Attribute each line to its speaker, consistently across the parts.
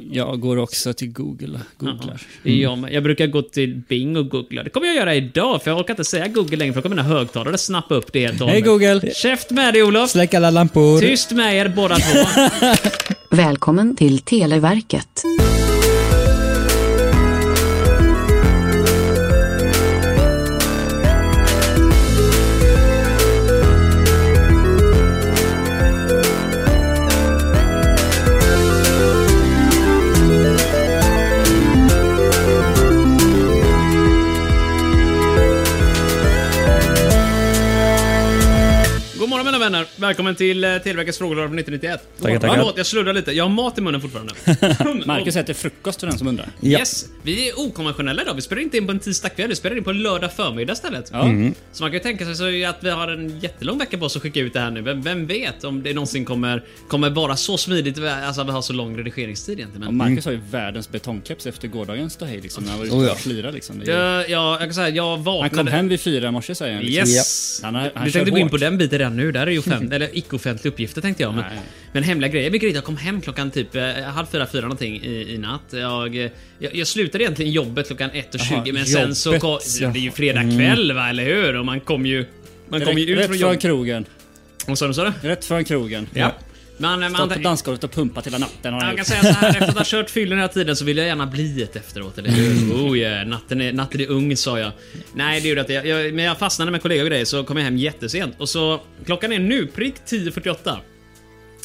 Speaker 1: Jag går också till Google. Googlar.
Speaker 2: Det är Jag, med. jag brukar gå till Bing och googla. Det kommer jag göra idag, för jag orkar inte säga Google längre, för då kommer mina högtalare snappa upp det helt och
Speaker 1: Hej
Speaker 2: hållet.
Speaker 1: Google!
Speaker 2: Käft med dig Olof!
Speaker 3: Släck alla lampor.
Speaker 2: Tyst med er båda två.
Speaker 4: Välkommen till Televerket.
Speaker 2: God morgon mina vänner. Välkommen till eh, Televerkets frågelåda från 1991.
Speaker 3: Tackar, tackar.
Speaker 2: Förlåt, jag slurrar lite. Jag har mat i munnen fortfarande.
Speaker 1: Marcus äter frukost för den som undrar.
Speaker 3: Ja.
Speaker 2: Yes, vi är okonventionella idag. Vi spelar inte in på en tisdagkväll, vi spelar in på en lördag förmiddag istället. Mm. Så man kan ju tänka sig så att vi har en jättelång vecka på oss att skicka ut det här nu. Vem, vem vet om det någonsin kommer, kommer vara så smidigt, alltså vi har så lång redigeringstid egentligen.
Speaker 1: Och
Speaker 2: Men...
Speaker 1: Marcus har ju världens betongkeps efter gårdagens ståhej liksom. När han var ute
Speaker 3: Oh, ja.
Speaker 1: och flirade liksom. Det är
Speaker 2: Jag,
Speaker 1: ju-
Speaker 2: jag, jag kan säga, jag
Speaker 1: Han kom
Speaker 2: vaknade...
Speaker 1: hem vid fyra i morse säger han. Liksom.
Speaker 2: Yes!
Speaker 1: Han har- han
Speaker 2: du
Speaker 1: kör
Speaker 2: tänkte gå in på
Speaker 1: hårt.
Speaker 2: den biten redan nu. Där är ju offent- eller icke-offentliga uppgifter tänkte jag. Men,
Speaker 1: Nej.
Speaker 2: men hemliga grejer. Vilket är, jag kom hem klockan typ eh, halv fyra, fyra någonting i, i natt. Jag, eh, jag, jag slutade egentligen jobbet klockan 1.20 men sen så
Speaker 1: jobbet, Mm.
Speaker 2: kom, Det är ju fredag kväll va, eller hur? Och man kom ju... Man kom ju
Speaker 1: Direkt,
Speaker 2: ut
Speaker 1: rätt
Speaker 2: från
Speaker 1: från
Speaker 2: jobbet...
Speaker 1: krogen.
Speaker 2: Vad sa du? sa du?
Speaker 1: Rätt från krogen.
Speaker 2: Ja. eh, Man, man,
Speaker 1: Stått på dansgolvet och pumpat hela natten. Har han
Speaker 2: jag kan
Speaker 1: gjort.
Speaker 2: säga så här, efter att ha kört fyllen hela tiden så vill jag gärna bli ett efteråt, eller hur? Oh yeah, natten är, natten är ung sa jag. Nej, det gjorde att jag, jag, men jag fastnade med kollegor och grejer så kom jag hem jättesent. Och så, klockan är nu prick 10.48.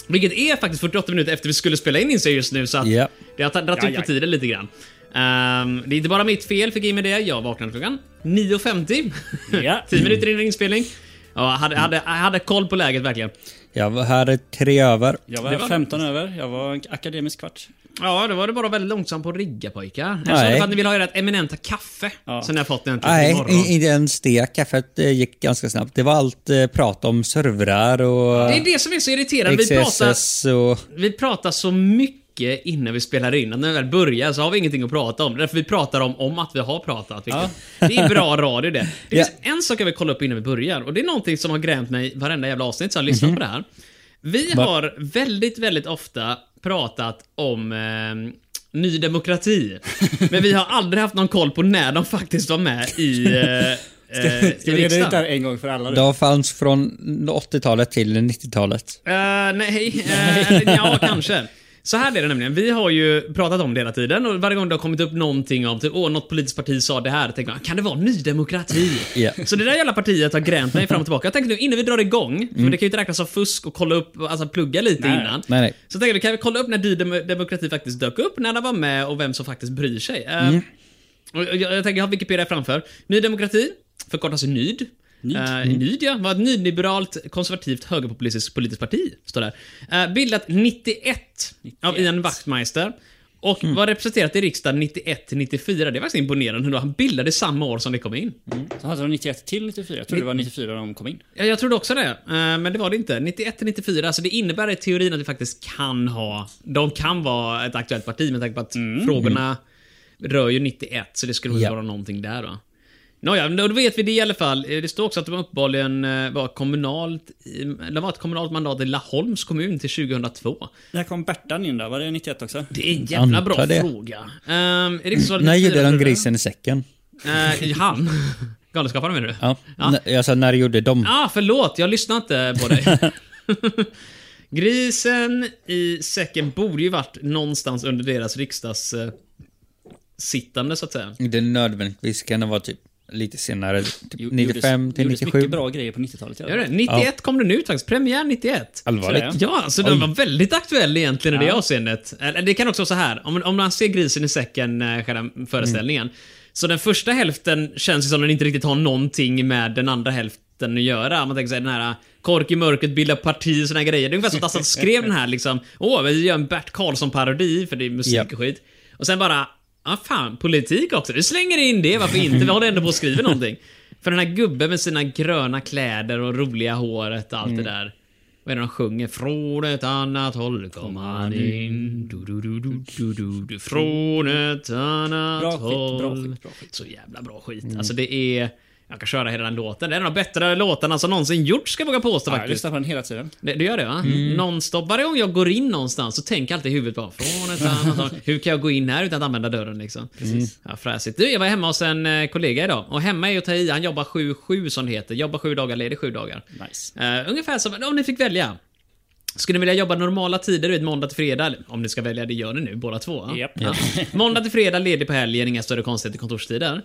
Speaker 2: Vilket är faktiskt 48 minuter efter vi skulle spela in inser jag just nu, så att
Speaker 3: Ja.
Speaker 2: det har dragit
Speaker 1: Ja,
Speaker 2: ut på
Speaker 1: ja.
Speaker 2: tiden lite grann. Ehm, det är inte bara mitt fel, fick in med det. Jag vaknade klockan 9.50.
Speaker 1: Ja.
Speaker 2: 10 minuter innan inspelning. Ja, jag hade, hade, jag hade koll på läget verkligen.
Speaker 3: Jag var här i tre över.
Speaker 1: Jag
Speaker 2: Det
Speaker 1: var
Speaker 2: var-
Speaker 1: 15 över. Jag var en akademisk kvart.
Speaker 2: Ja, då var det bara väldigt långsamt på att rigga pojkar. Jag
Speaker 3: Nej.
Speaker 2: sa det för att ni vill ha ert eminenta kaffe
Speaker 1: Ja.
Speaker 2: som ni har fått äntligen
Speaker 3: Nej,
Speaker 2: imorgon.
Speaker 3: i- inte ens det. Kaffet eh, gick ganska snabbt. Det var allt eh, prat om servrar och
Speaker 2: Det är det som är så irriterande. Vi pratar,
Speaker 3: XSS och...
Speaker 2: vi pratar så mycket innan vi spelar in att när vi väl börjar så har vi ingenting att prata om. Det är Därför vi pratar om, om att vi har pratat. vilket- Det är bra radio det. Det finns en sak jag vill kolla upp innan vi börjar och det är någonting som har grämt mig varenda jävla avsnitt som jag har
Speaker 1: Mhm.
Speaker 2: lyssnat på det här. Vi har väldigt, väldigt ofta pratat om eh, Ny Demokrati. Men vi har aldrig haft någon koll på när de faktiskt var med i, eh, eh,
Speaker 1: Ska
Speaker 2: i
Speaker 1: vi reda ut det
Speaker 2: riksdagen.
Speaker 1: här en gång för alla? nu?
Speaker 3: De fanns från 80-talet till 90-talet.
Speaker 2: Eh, nej, eh, ja kanske. Så här är det nämligen, vi har ju pratat om det hela tiden och varje gång det har kommit upp någonting om typ, åh, något politiskt parti sa det här, tänker man, kan det vara nydemokrati?
Speaker 3: Ja.
Speaker 2: Så det där jävla partiet har gränt mig fram och tillbaka. Jag tänkte nu, innan vi drar igång, för det kan ju inte räknas som fusk och kolla upp, alltså plugga lite
Speaker 1: Nej.
Speaker 2: innan.
Speaker 3: Nej, nej.
Speaker 2: Så tänker jag, kan vi kolla upp när Ny Dem- Demokrati faktiskt dök upp, när den var med och vem som faktiskt bryr sig. Eh,
Speaker 3: Mm.
Speaker 2: och jag, jag tänker, jag har Wikipedia framför. Ny Demokrati, förkortas ju NYD. Nyd,
Speaker 3: Mm.
Speaker 2: Nyd ja. Var ett nyliberalt, konservativt, högerpopulistiskt politiskt parti. Står där. Eh, bildat 91, av Ian Wachtmeister. Och
Speaker 3: Mm.
Speaker 2: var representerat i riksdagen 91 till 94. Det är faktiskt imponerande hur han bildade samma år som det kom in.
Speaker 1: Så hade de 91 till 94. Jag trodde det var 94 de kom in.
Speaker 2: Ja, Jag trodde också det, eh, men det var det inte. 91 till 94, så det innebär i teorin att vi faktiskt kan ha... De kan vara ett aktuellt parti med tanke på att frågorna rör ju 91, så det skulle väl
Speaker 3: Mm. Ja.
Speaker 2: vara någonting där va? Nåja, men då vet vi det i alla fall. Eh, Det står också att de uppenbarligen eh, var kommunalt... i- De var ett kommunalt mandat i Laholms kommun till 2002.
Speaker 1: När kom Bertan in där? Var det 91 också?
Speaker 2: Det är en jävla bra
Speaker 3: Antar det.
Speaker 2: fråga. Um, är det inte så att
Speaker 3: När
Speaker 2: 94
Speaker 3: gjorde de
Speaker 2: tror du?
Speaker 3: grisen i säcken?
Speaker 2: Eh, i han. Galenskaparna menar du?
Speaker 3: Ja. N- Jag sa, när gjorde de?
Speaker 2: Ah, förlåt. Jag lyssnade inte på dig. Grisen i säcken borde ju varit någonstans under deras riksdags... Eh, sittande, så att säga.
Speaker 3: Inte nödvändigtvis kan det vara typ lite senare. Typ
Speaker 1: Jo-
Speaker 3: 95
Speaker 1: gjordes-
Speaker 3: till
Speaker 1: gjordes
Speaker 3: 97.
Speaker 1: mycket bra grejer på 90-talet.
Speaker 2: Gör det? 91 kom den ut faktiskt. Premiär 91.
Speaker 3: Allvarligt?
Speaker 2: Ja, så den var väldigt aktuell egentligen i det avseendet. Eller det kan också vara så här, om, om man ser grisen i säcken, eh, själva föreställningen. Så den första hälften känns ju som den inte riktigt har någonting med den andra hälften att göra. Man tänker sig den här eh, kork i mörkret, bilda parti och såna här grejer. Det är ungefär som att Assad skrev den här liksom, åh, vi gör en Bert Karlsson-parodi, för det är musik och
Speaker 3: Japp.
Speaker 2: skit. Och sen bara, ja fan, politik också. Vi slänger in det, varför inte? Vi håller ändå på att skriva någonting. För den här gubben med sina gröna kläder och roliga håret och allt
Speaker 1: Mm.
Speaker 2: det där. Vad är det de sjunger? Från ett annat håll kom han in. Du, du, du, du, du, du, du. Från ett annat
Speaker 1: Bra skit, bra
Speaker 2: håll.
Speaker 1: skit, Mm. bra skit.
Speaker 2: Så jävla bra skit. Alltså det är... Jag kan köra hela den låten. Det är en av de bättre låtarna som någonsin gjorts, ska jag våga påstå
Speaker 1: Ja, jag
Speaker 2: faktiskt.
Speaker 1: lyssnar på den hela tiden.
Speaker 2: Det, det gör det va? Nonstop. Varje gång jag går in någonstans så tänker jag alltid i huvudet bara från ett annat håll. Hur kan jag gå in här utan att använda dörren liksom? Precis. Ja, fräsigt. Du, jag var hemma hos en eh, kollega idag. Och hemma är ju att ta i. Han jobbar 7-7 som det heter. Jobbar 7 dagar, ledig 7 dagar.
Speaker 1: Nice.
Speaker 2: Eh, ungefär som om ni fick välja. Skulle ni vilja jobba normala tider, du vet måndag till fredag? Eller, Om ni ska välja, det gör ni nu båda två. va?
Speaker 1: Japp.
Speaker 2: Ja. Måndag till fredag, ledig på helgen, inga större konstigheter kontorstider.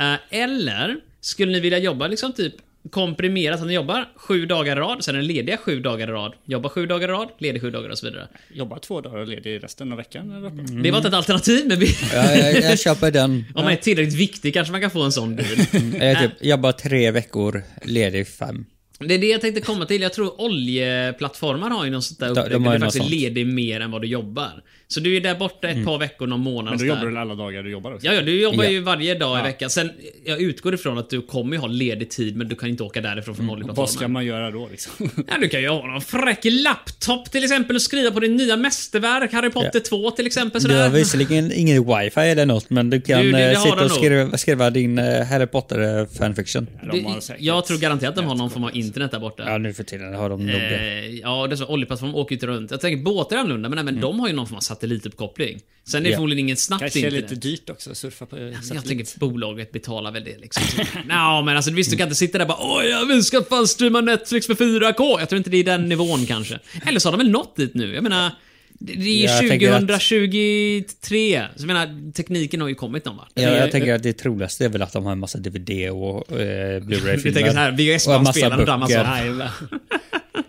Speaker 2: Eh, eller, skulle ni vilja jobba liksom typ komprimerat, att ni jobbar sju dagar i rad, sen är ni lediga sju dagar i rad. Jobbar sju dagar i rad, ledig sju dagar och så vidare.
Speaker 1: Jobbar två dagar och ledig resten av veckan. Eller? Mm.
Speaker 2: Det var inte ett alternativ, men vi,
Speaker 3: Ja, jag, jag köper den.
Speaker 2: om man är tillräckligt viktig kanske man kan få en sån bil.
Speaker 3: Jag typ, jobbar tre veckor, ledig fem.
Speaker 2: Det är det jag tänkte komma till. Jag tror oljeplattformar har ju något sånt där
Speaker 3: de
Speaker 2: upplägg
Speaker 3: har
Speaker 2: där du
Speaker 3: ju något
Speaker 2: faktiskt är
Speaker 3: sånt. Mm.
Speaker 2: ledig mer än vad du jobbar. Så du är där borta ett par veckor, någon månad.
Speaker 1: Men då
Speaker 2: och
Speaker 1: jobbar
Speaker 2: sådär.
Speaker 1: du alla dagar du jobbar också?
Speaker 2: Ja, ja, du jobbar
Speaker 3: Ja.
Speaker 2: ju varje dag i veckan. Sen, jag utgår ifrån att du kommer ju ha ledig tid, men du kan inte åka därifrån från
Speaker 3: Mm,
Speaker 1: Vad ska
Speaker 2: oljeplattformen.
Speaker 1: man göra då liksom?
Speaker 2: Ja, du kan ju ha någon fräck laptop till exempel och skriva på din nya mästerverk, Harry Potter 2 till exempel.
Speaker 3: Du har
Speaker 2: Sådär.
Speaker 3: visserligen ingen wifi eller något, men du kan
Speaker 2: Du, det- det
Speaker 3: eh,
Speaker 2: har
Speaker 3: sitta
Speaker 2: den
Speaker 3: och
Speaker 2: nog.
Speaker 3: skriva, skriva din eh, Harry Potter-fanfiction.
Speaker 1: De har
Speaker 2: Det,
Speaker 1: säkert-
Speaker 2: jag tror garanterat att de har någon form av internet där borta.
Speaker 3: Ja, nu för tiden har de nog det. Mm.
Speaker 2: Eh, ja, dessutom oljeplattform åker ju inte runt. Jag tänker båtar är annorlunda, men, nej, men de har ju någon form av satellituppkoppling. Sen är det
Speaker 3: Ja.
Speaker 2: förmodligen ingen snabbt
Speaker 1: Kanske är
Speaker 2: internet.
Speaker 1: lite dyrt också, surfa på eh,
Speaker 2: Jag
Speaker 1: satellit.
Speaker 2: tänker att liksom bolaget betalar väl det liksom. Så, Nja, men alltså visst du kan inte sitta där och bara Oj, ja, vi ska fan streama Netflix med 4K. Jag tror inte det är den nivån kanske. Eller så har de väl nått dit nu. Jag menar, det det
Speaker 3: Ja,
Speaker 2: är
Speaker 3: jag
Speaker 2: ju
Speaker 3: tänker att-
Speaker 2: 2023. Så jag menar, tekniken har ju kommit någon vart.
Speaker 3: Ja, jag tänker att det troligaste är väl att de har en massa DVD och eh,
Speaker 2: Vi tänker så här,
Speaker 3: Blu-ray-filmer. Och en massa
Speaker 2: VHS-bandspelaren och dammar så
Speaker 3: böcker.
Speaker 2: här. va?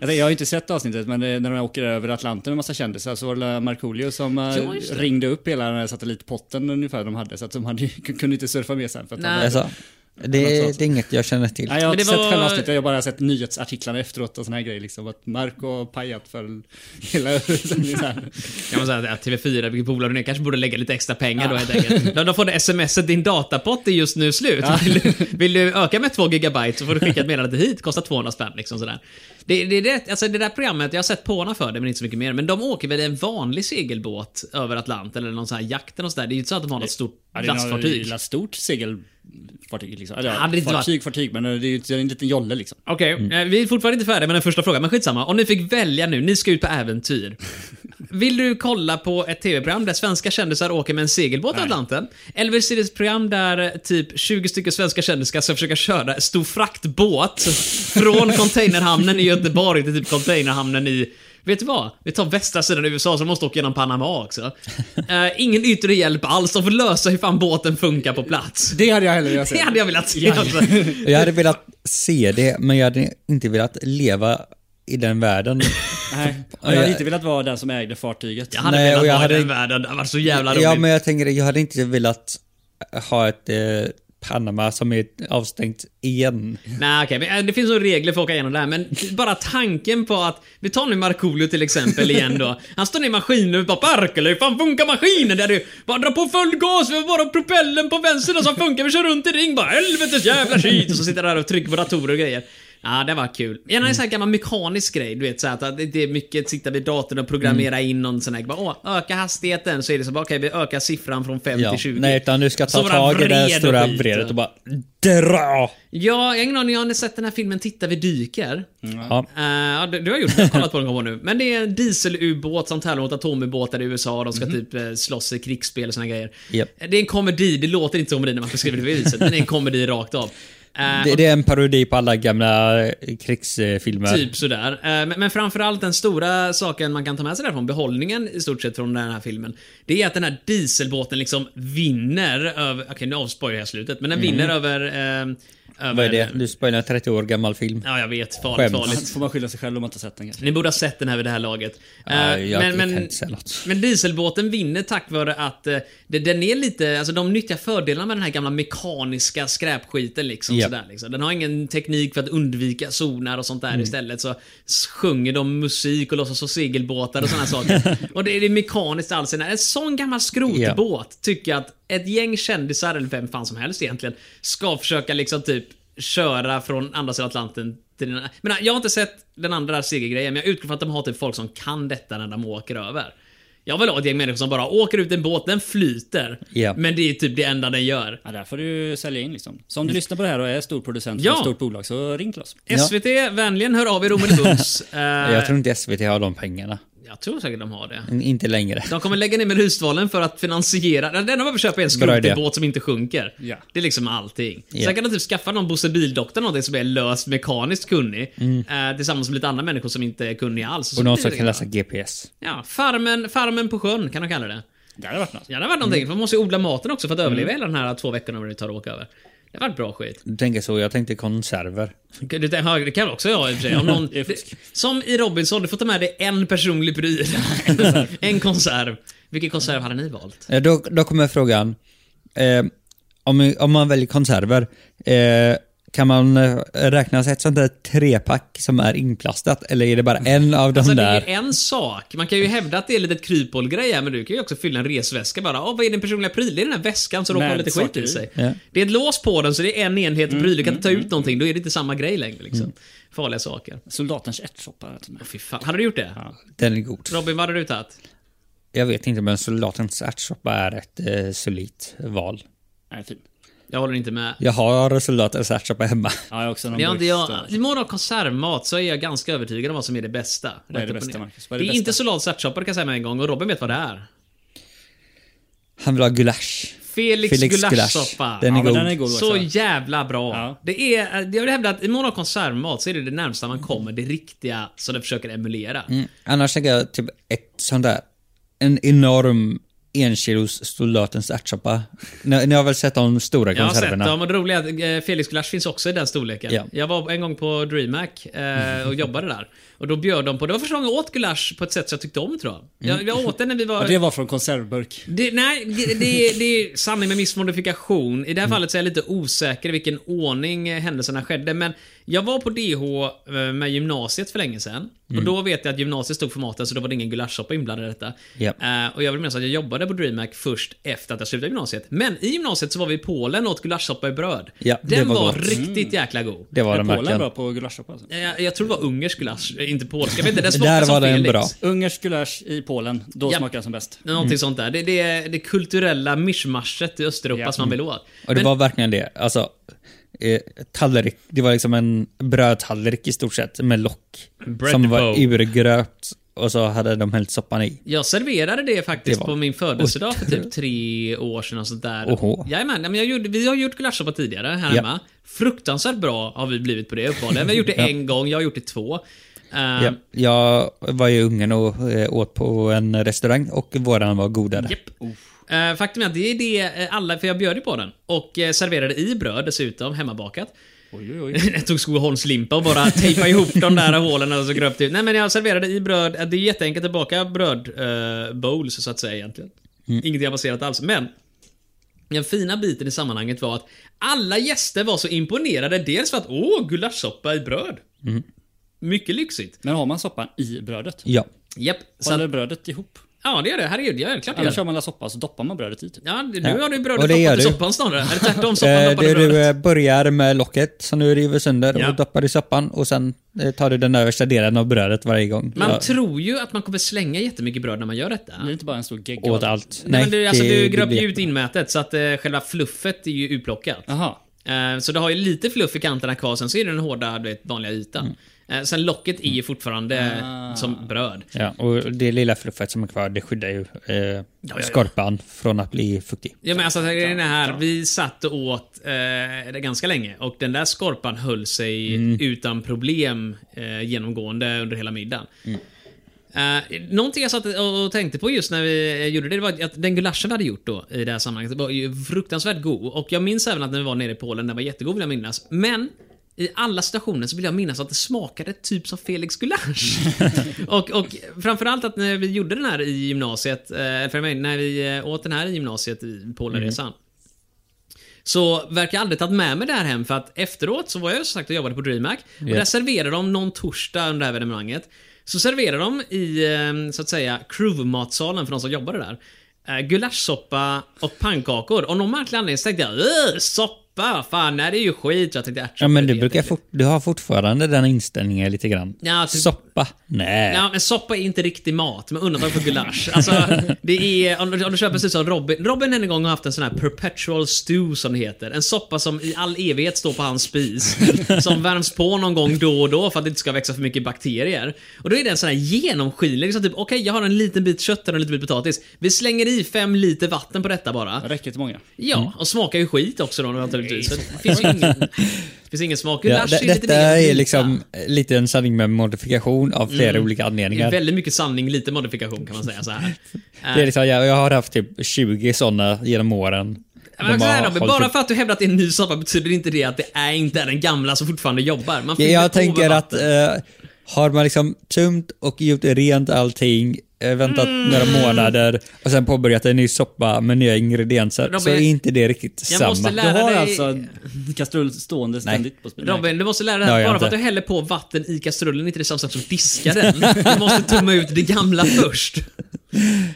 Speaker 1: Jag tänker, jag har inte sett avsnittet, men eh, när de åker över Atlanten med massa kändisar så var det Markoolio som eh,
Speaker 2: Ja, just det.
Speaker 1: ringde upp hela den här satellitpotten ungefär de hade. Så att de hade, kunde inte surfa med sen. För att de
Speaker 2: Nej.
Speaker 1: hade-
Speaker 3: Alltså, det, det är inget jag känner till.
Speaker 1: Nej, jag
Speaker 2: Men
Speaker 1: har
Speaker 2: det
Speaker 1: inte sett
Speaker 2: var-
Speaker 1: själva avsnittet, jag har bara sett nyhetsartiklarna efteråt och såna här grejer. Liksom, att Marco har pajat för hela sändningen. så här.
Speaker 2: Kan man säga att TV4, vilket bolag du är, kanske borde lägga lite extra pengar då helt enkelt. Då, då får du smset, din datapott är just nu slut. Vill, du, vill du öka med 2 gigabyte så får du skicka ett meddelande hit, kostar 200 spänn. Liksom sådär. Det, det, det, alltså det där programmet, jag har sett påarna för det men inte så mycket mer. Men de åker väl i en vanlig segelbåt över Atlanten eller någon sån här jakt eller något sådär. Det är ju inte så att de har något stort
Speaker 1: Ja, det är några
Speaker 2: lastfartyg.
Speaker 1: lilla stort segelfartyg. Liksom. Eller,
Speaker 2: Ja, det är inte
Speaker 1: fartyg, fartyg, men det är ju det är en liten jolle liksom.
Speaker 2: Okej, eh, vi är fortfarande inte färdiga med den första frågan, men skitsamma. Om ni fick välja nu, ni ska ut på äventyr. Vill du kolla på ett TV-program där svenska kändisar åker med en segelbåt i Atlanten? Eller vill du se ett program där eh, typ 20 stycken svenska kändisar ska försöka köra en stor fraktbåt från containerhamnen i Göteborg till typ containerhamnen i... Vet du vad? Vi tar västra sidan i USA, så de måste åka genom Panama också. Eh, ingen yttre hjälp alls, de får lösa hur fan båten funkar på plats.
Speaker 1: Det hade jag hellre velat se.
Speaker 2: Det hade jag velat se alltså.
Speaker 3: Jag hade velat se det, men jag hade inte velat leva i den världen.
Speaker 1: Nej. Och Jag hade inte velat vara den som ägde fartyget.
Speaker 2: Jag hade
Speaker 3: Nej,
Speaker 2: velat
Speaker 3: och jag
Speaker 2: vara i
Speaker 3: hade-
Speaker 2: den världen, det var så jävla roligt.
Speaker 3: Ja, men jag tänker, jag hade inte velat ha ett eh, Panama som är avstängt igen.
Speaker 2: Nej okej, men, eh, det finns nog regler för att åka igenom det här men bara tanken på att Vi tar nu Markoolio till exempel igen då. Han står ner i maskinen och bara Barkele, hur fan funkar maskinen? Där du bara dra på full gas, vi har bara propellen på vänster som funkar, vi kör runt i ring bara helvetes jävla skit och så sitter han där och trycker på datorer och grejer. Ja, det var kul. Gärna
Speaker 3: Mm.
Speaker 2: en sån här gammal mekanisk grej, du vet så här, att det det är mycket att sitta vid datorn och programmera
Speaker 3: Mm.
Speaker 2: in någon sån här, bara, åh, öka hastigheten, så är det så bara, okej, vi ökar siffran från 5
Speaker 3: Ja.
Speaker 2: till 20.
Speaker 3: Nej, utan du ska
Speaker 2: Så
Speaker 3: ta
Speaker 2: var
Speaker 3: tag i det här
Speaker 2: vred och
Speaker 3: stora
Speaker 2: skit.
Speaker 3: vredet och bara dra!
Speaker 2: Ja, jag har ingen aning om ni har sett den här filmen Titta vi dyker.
Speaker 1: Mm,
Speaker 3: Ja.
Speaker 2: Eh, ja, du, du har gjort det. Jag har kollat på den gång nu. Men det är en dieselubåt som tävlar mot atomubåtar i USA. De ska typ eh, slåss i krigsspel och såna grejer.
Speaker 3: Mhm. Japp.
Speaker 2: Eh, Det är en komedi. Det låter inte som komedi när man beskriver det på det viset, men det är en komedi rakt av. Eh,
Speaker 3: Det, det är en parodi på alla gamla eh, krigsfilmer.
Speaker 2: Typ sådär. Eh, Men, men framförallt den stora saken man kan ta med sig därifrån, behållningen i stort sett från den här filmen, det är att den här dieselbåten liksom vinner över... Okej, nu avspojar jag slutet, men den vinner över... eh, över
Speaker 3: Mhm. Vad är det? Du spoilar en 30 år gammal film.
Speaker 2: Ja, jag vet. Farligt,
Speaker 3: Skäms.
Speaker 2: farligt.
Speaker 1: Får man skylla sig själv om man inte har sett den kanske.
Speaker 2: Ni borde ha sett den här vid det här laget.
Speaker 3: Ja,
Speaker 2: Eh,
Speaker 3: jag kan inte säga något.
Speaker 2: men dieselbåten vinner tack vare att eh, det, den är lite, alltså de nyttjar fördelarna med den här gamla mekaniska skräpskiten liksom.
Speaker 3: Ja.
Speaker 2: Sådär, liksom. Den har ingen teknik för att undvika zoner och sånt
Speaker 3: Mm.
Speaker 2: där istället. Så sjunger de musik och låtsas vara segelbåtar och sådana saker. och det, det är mekaniskt alls. En sån gammal skrotbåt tycker jag att ett gäng kändisar, eller vem fan som helst egentligen, ska försöka liksom typ köra från andra sidan Atlanten till den men äh, Jag har inte sett den andra segelgrejen, men jag utgår från att de har typ folk som kan detta när de åker över. Jag vill ha ett gäng människor som bara åker ut i en båt, den flyter.
Speaker 3: Ja.
Speaker 2: Men det är typ det enda den gör.
Speaker 1: Ja, där får du sälja in liksom. Så om du lyssnar på det här och är storproducent
Speaker 2: Mm. Ja.
Speaker 1: för ett stort bolag så ring till oss.
Speaker 3: Ja.
Speaker 2: SVT, vänligen hör av er omedelbums. uh,
Speaker 3: Jag tror inte SVT har de pengarna.
Speaker 2: Eh, jag tror säkert de har det.
Speaker 3: In- Inte längre.
Speaker 2: De kommer lägga ner Melodifestivalen för att finansiera... Det enda de behöver köpa är en
Speaker 3: idé.
Speaker 2: skrotig båt som inte sjunker.
Speaker 1: Ja.
Speaker 2: Det är liksom allting.
Speaker 3: Ja.
Speaker 2: Sen kan de typ skaffa någon Bosse Bildoktor någonting som är löst mekaniskt kunnig. Eh, tillsammans med lite andra människor som inte är kunniga alls. så
Speaker 3: Mm. Och någon
Speaker 2: blir det
Speaker 3: som kan
Speaker 2: det.
Speaker 3: läsa GPS.
Speaker 2: Ja, farmen, farmen på sjön kan de kalla det.
Speaker 1: Det hade varit något.
Speaker 2: Ja, det har varit någonting.
Speaker 3: Mm.
Speaker 2: För man måste ju odla maten också för att överleva hela den här två veckorna vad det tar att åka över. Det har varit bra skit.
Speaker 3: Du tänker så, jag tänkte konserver.
Speaker 2: Det, det har- det kan också jag i och för sig. Om någon,
Speaker 1: Det är fusk.
Speaker 2: som i Robinson, du får ta med dig en personlig pryl. en konserv. Vilken konserv hade ni valt?
Speaker 3: Eh, Då, då kommer frågan. Eh, om, om man väljer konserver, eh, kan man eh, räkna sig ett sånt där trepack som är inplastat? Eller är det bara en av de
Speaker 2: Alltså, det är
Speaker 3: där?
Speaker 2: ju en sak. Man kan ju hävda att det är lite ett kryphålgrej här, men du kan ju också fylla en resväska bara. Åh, vad är din personliga pryl? Det är den här väskan som råkar ha
Speaker 1: Med
Speaker 2: lite skit
Speaker 1: saker
Speaker 2: i
Speaker 1: i.
Speaker 2: sig.
Speaker 3: Ja.
Speaker 2: Det är ett lås på den, så det är en enhet pryl. Du kan inte ta
Speaker 1: Mm,
Speaker 2: ut någonting, då är det inte samma grej längre. Liksom. Farliga saker.
Speaker 1: Soldatens ärtsoppa. hade jag tagit med.
Speaker 2: Åh, Fy fan. Hade du gjort det?
Speaker 3: Den är god.
Speaker 2: Robin, vad hade du tagit?
Speaker 3: Jag vet inte, men soldatens ärtsoppa är ett eh, solitt val.
Speaker 1: Den är fin.
Speaker 2: Jag håller inte med.
Speaker 3: Jag har soldatens ärtsoppa hemma.
Speaker 1: Ja, jag har också någon
Speaker 2: Ja, det
Speaker 1: burk
Speaker 2: jag,
Speaker 1: större.
Speaker 2: I morgon konservmat så är jag ganska övertygad om vad som är det bästa.
Speaker 1: Vad är det
Speaker 2: Rätt upp och
Speaker 1: bästa,
Speaker 2: ner.
Speaker 1: Marcus?
Speaker 2: Det
Speaker 1: Vad
Speaker 2: är
Speaker 1: är det bästa?
Speaker 2: inte Soldat ärtsoppa, det kan jag säga med en gång. Och Robin vet vad det är.
Speaker 3: Han vill ha gulasch.
Speaker 2: Felix,
Speaker 3: Felix
Speaker 2: gulaschsoppa.
Speaker 3: gulasch. Den är
Speaker 1: Ja, men
Speaker 3: god.
Speaker 1: den är god
Speaker 2: Så
Speaker 1: också.
Speaker 2: jävla bra.
Speaker 1: Ja.
Speaker 2: Det är, eh, jag vill hävda att i morgon konservmat så är det det närmsta man kommer det riktiga som den försöker emulera.
Speaker 3: Mm. Annars tänker jag typ ett sånt där, en enorm enkilos soldatens ärtsoppa. Ni, ni har väl sett de stora
Speaker 2: Jag har sett
Speaker 3: konserverna?
Speaker 2: dem och det roliga är att eh, Felix Gulasch finns också i den storleken.
Speaker 3: Ja.
Speaker 2: Jag var en gång på DreamHack eh, och jobbade där. Och då bjöd de på, det var första gången jag åt gulasch på ett sätt som jag tyckte om tror jag. Jag, jag åt den när vi var...
Speaker 1: Mm. Ja, det var från konservburk.
Speaker 2: Det, nej, det, det, det är sanning med viss modifikation. I det här
Speaker 3: Mm.
Speaker 2: fallet så är jag lite osäker i vilken ordning eh, händelserna skedde. Men jag var på DH eh, med gymnasiet för länge sedan.
Speaker 3: Mm.
Speaker 2: Och då vet jag att gymnasiet stod för maten, så då var det ingen gulaschsoppa inblandad i detta.
Speaker 3: Japp.
Speaker 2: Eh, och jag vill minnas att jag jobbade på DreamHack först efter att jag slutade gymnasiet. Men i gymnasiet så var vi i Polen och åt gulaschsoppa i bröd.
Speaker 3: Ja, det
Speaker 2: Den
Speaker 3: var
Speaker 2: var,
Speaker 3: gott. Mm.
Speaker 2: riktigt jäkla god.
Speaker 3: Det var
Speaker 1: Är
Speaker 3: den
Speaker 1: Polen
Speaker 3: verkligen.
Speaker 1: bra på gulaschsoppa? Alltså?
Speaker 2: Eh, Jag, jag tror det var ungersk gulasch, eh, inte polsk. Jag vet inte, den
Speaker 3: Där
Speaker 2: smakade som
Speaker 3: var den
Speaker 2: Felix.
Speaker 3: bra. Mm.
Speaker 1: Ungersk gulasch i Polen, då
Speaker 2: Ja.
Speaker 1: smakar den som bäst.
Speaker 2: Någonting sånt där. Det, det är det kulturella mischmaschet i Östeuropa
Speaker 1: Ja.
Speaker 2: som man vill åt.
Speaker 3: Och det var verkligen det. Alltså, eh, tallrik. Det var liksom en brödtallrik i stort sett med lock.
Speaker 2: Bread
Speaker 3: som var
Speaker 2: bowl.
Speaker 3: urgröpt och så hade de hällt soppan i.
Speaker 2: Jag serverade det faktiskt
Speaker 3: Det var-
Speaker 2: på min födelsedag för typ tre år sedan och sånt där.
Speaker 3: Oho.
Speaker 2: Jajamän, ja, men jag gjorde, vi har gjort gulaschsoppa tidigare här
Speaker 3: Ja.
Speaker 2: hemma. Fruktansvärt bra har vi blivit på det uppenbarligen. Vi har gjort det en gång, jag har gjort det två. Ehm,
Speaker 3: Ja. Jag var i Ungern och eh, åt på en restaurang och våran var godare.
Speaker 2: Japp. Eh, faktum är att det är det eh, alla, för jag bjöd ju på den. Och eh, serverade i bröd dessutom, hemmabakat.
Speaker 1: Oj, oj, oj.
Speaker 2: Jag tog Skogaholmslimpa och bara tejpade ihop de där hålen och så gröpte ut. Nej men jag serverade i bröd, det är jätteenkelt att baka bröd eh, bowls så att säga egentligen.
Speaker 3: Mm.
Speaker 2: Ingenting avancerat alls, men den fina biten i sammanhanget var att alla gäster var så imponerade. Dels för att åh, gulaschsoppa i bröd.
Speaker 3: Mm.
Speaker 2: Mycket lyxigt.
Speaker 1: Men har man soppan i brödet?
Speaker 3: Ja.
Speaker 2: Japp. Så
Speaker 1: Håller
Speaker 2: att,
Speaker 1: brödet ihop?
Speaker 2: ja, det gör det. Herregud, ja, klart det gör
Speaker 1: Annars kör
Speaker 2: det.
Speaker 1: man la soppa så doppar man brödet i typ.
Speaker 2: Ja, nu
Speaker 3: Ja.
Speaker 2: har du
Speaker 3: Och
Speaker 2: brödet
Speaker 3: det
Speaker 2: doppat
Speaker 3: gör
Speaker 2: i
Speaker 3: du.
Speaker 2: soppan snarare. Eller tvärtom, soppan
Speaker 3: Eh,
Speaker 2: doppade i
Speaker 3: det du
Speaker 2: brödet.
Speaker 3: eh, börjar med locket som du river sönder
Speaker 2: Ja.
Speaker 3: och doppar i soppan och sen eh, tar du den översta delen av brödet varje gång.
Speaker 2: Man
Speaker 3: eh, Ja.
Speaker 2: tror ju att man kommer slänga jättemycket bröd när man gör detta.
Speaker 1: Det är inte bara en stor gegga.
Speaker 3: Åt allt.
Speaker 2: Nej, men du, alltså,
Speaker 3: det-
Speaker 2: du
Speaker 3: det
Speaker 2: gröper
Speaker 3: blir
Speaker 2: ju ut inmätet så att eh, själva fluffet är ju utplockat.
Speaker 1: Jaha.
Speaker 2: Eh, så du har ju lite fluff i kanterna kvar, sen så är det den hårda, du vet, vanliga ytan. Eh, sen locket är ju fortfarande eh, som bröd.
Speaker 3: Ja, och det lilla fluffet som är kvar, det skyddar ju eh,
Speaker 2: ja.
Speaker 3: skorpan från att bli fuktig.
Speaker 2: Ja, men alltså, grejen är här, vi satt och åt eh, det ganska länge och den där skorpan höll sig utan problem eh, genomgående under hela middagen. Eh, någonting jag satt och och tänkte på just när vi eh, gjorde det, det var att den gulaschen vi hade gjort då i det här sammanhanget var ju fruktansvärt god. Och jag minns även att när vi var nere i Polen, den var jättegod vill jag minnas. Men i alla stationer så vill jag minnas att det smakade typ som Felix gulasch. och, och framförallt att när vi gjorde den här i gymnasiet, eh, för mig, när vi eh, åt den här i gymnasiet i Polenresan. Så verkar jag aldrig tagit med mig det här hem för att efteråt så var jag ju som sagt och jobbade på DreamHack och där serverade de någon torsdag under det här evenemanget. Så serverade de i, eh, så att säga, crewmatsalen för de som jobbade där. eh, Gulaschsoppa och pannkakor. Och någon märklig anledning så tänkte jag "Öh, soppa soppa. Fan, nej det är ju skit. Jag tänkte ärtsoppa.
Speaker 3: Ja, men
Speaker 2: är
Speaker 3: du,
Speaker 2: helt
Speaker 3: brukar
Speaker 2: äckligt.
Speaker 3: fort, du har fortfarande den inställningen lite grann.
Speaker 2: Ja, typ-
Speaker 3: Soppa? Nej.
Speaker 2: Ja, men soppa är inte riktig mat, med undantag för gulasch. Alltså, det är, om, du- om du köper precis som Robin. Robin en gång har haft en sån här perpetual stew som det heter. En soppa som i all evighet står på hans spis. Som värms på någon gång då och då för att det inte ska växa för mycket bakterier. Och då är den sån här genomskinlig. Så typ, okej jag har en liten bit kött och en liten bit potatis. Vi slänger i fem liter vatten på detta bara.
Speaker 1: Räcker till många.
Speaker 3: Mm.
Speaker 2: Ja, och smakar ju skit också då naturligtvis. för Det finns ju ingen, det finns ingen smak.
Speaker 3: Ja,
Speaker 2: Gulasch
Speaker 3: det,
Speaker 2: är lite
Speaker 3: detta
Speaker 2: mer
Speaker 3: är
Speaker 2: yta.
Speaker 3: liksom lite en sanning med modifikation av flera olika
Speaker 2: Mm. Det är
Speaker 3: anledningar.
Speaker 2: väldigt mycket sanning, lite modifikation kan man säga så här.
Speaker 3: Det är liksom, jag, jag har haft typ 20 sådana genom åren.
Speaker 2: Men också
Speaker 3: De har
Speaker 2: här, Robin,
Speaker 3: hållit
Speaker 2: bara
Speaker 3: upp-
Speaker 2: för att du hävdar att det är en ny soppa betyder inte det att det är inte är den gamla som fortfarande jobbar. Man fyller
Speaker 3: jag
Speaker 2: på med
Speaker 3: tänker att
Speaker 2: vatten.
Speaker 3: eh, har man liksom tömt och gjort rent allting, eh, väntat
Speaker 2: Mm.
Speaker 3: några månader och sen påbörjat en ny soppa med nya ingredienser
Speaker 2: Robin,
Speaker 3: så är inte det riktigt
Speaker 2: jag måste
Speaker 3: samma.
Speaker 1: Du
Speaker 2: Lära
Speaker 1: har
Speaker 2: dig-
Speaker 1: alltså kastrull stående ständigt på spelet?
Speaker 2: Robin, du måste lära dig
Speaker 3: Det har
Speaker 2: att
Speaker 3: jag
Speaker 2: bara för att
Speaker 3: inte.
Speaker 2: du häller på vatten i kastrullen är inte det samma sak som att diska den. Du måste tumma ut det gamla först.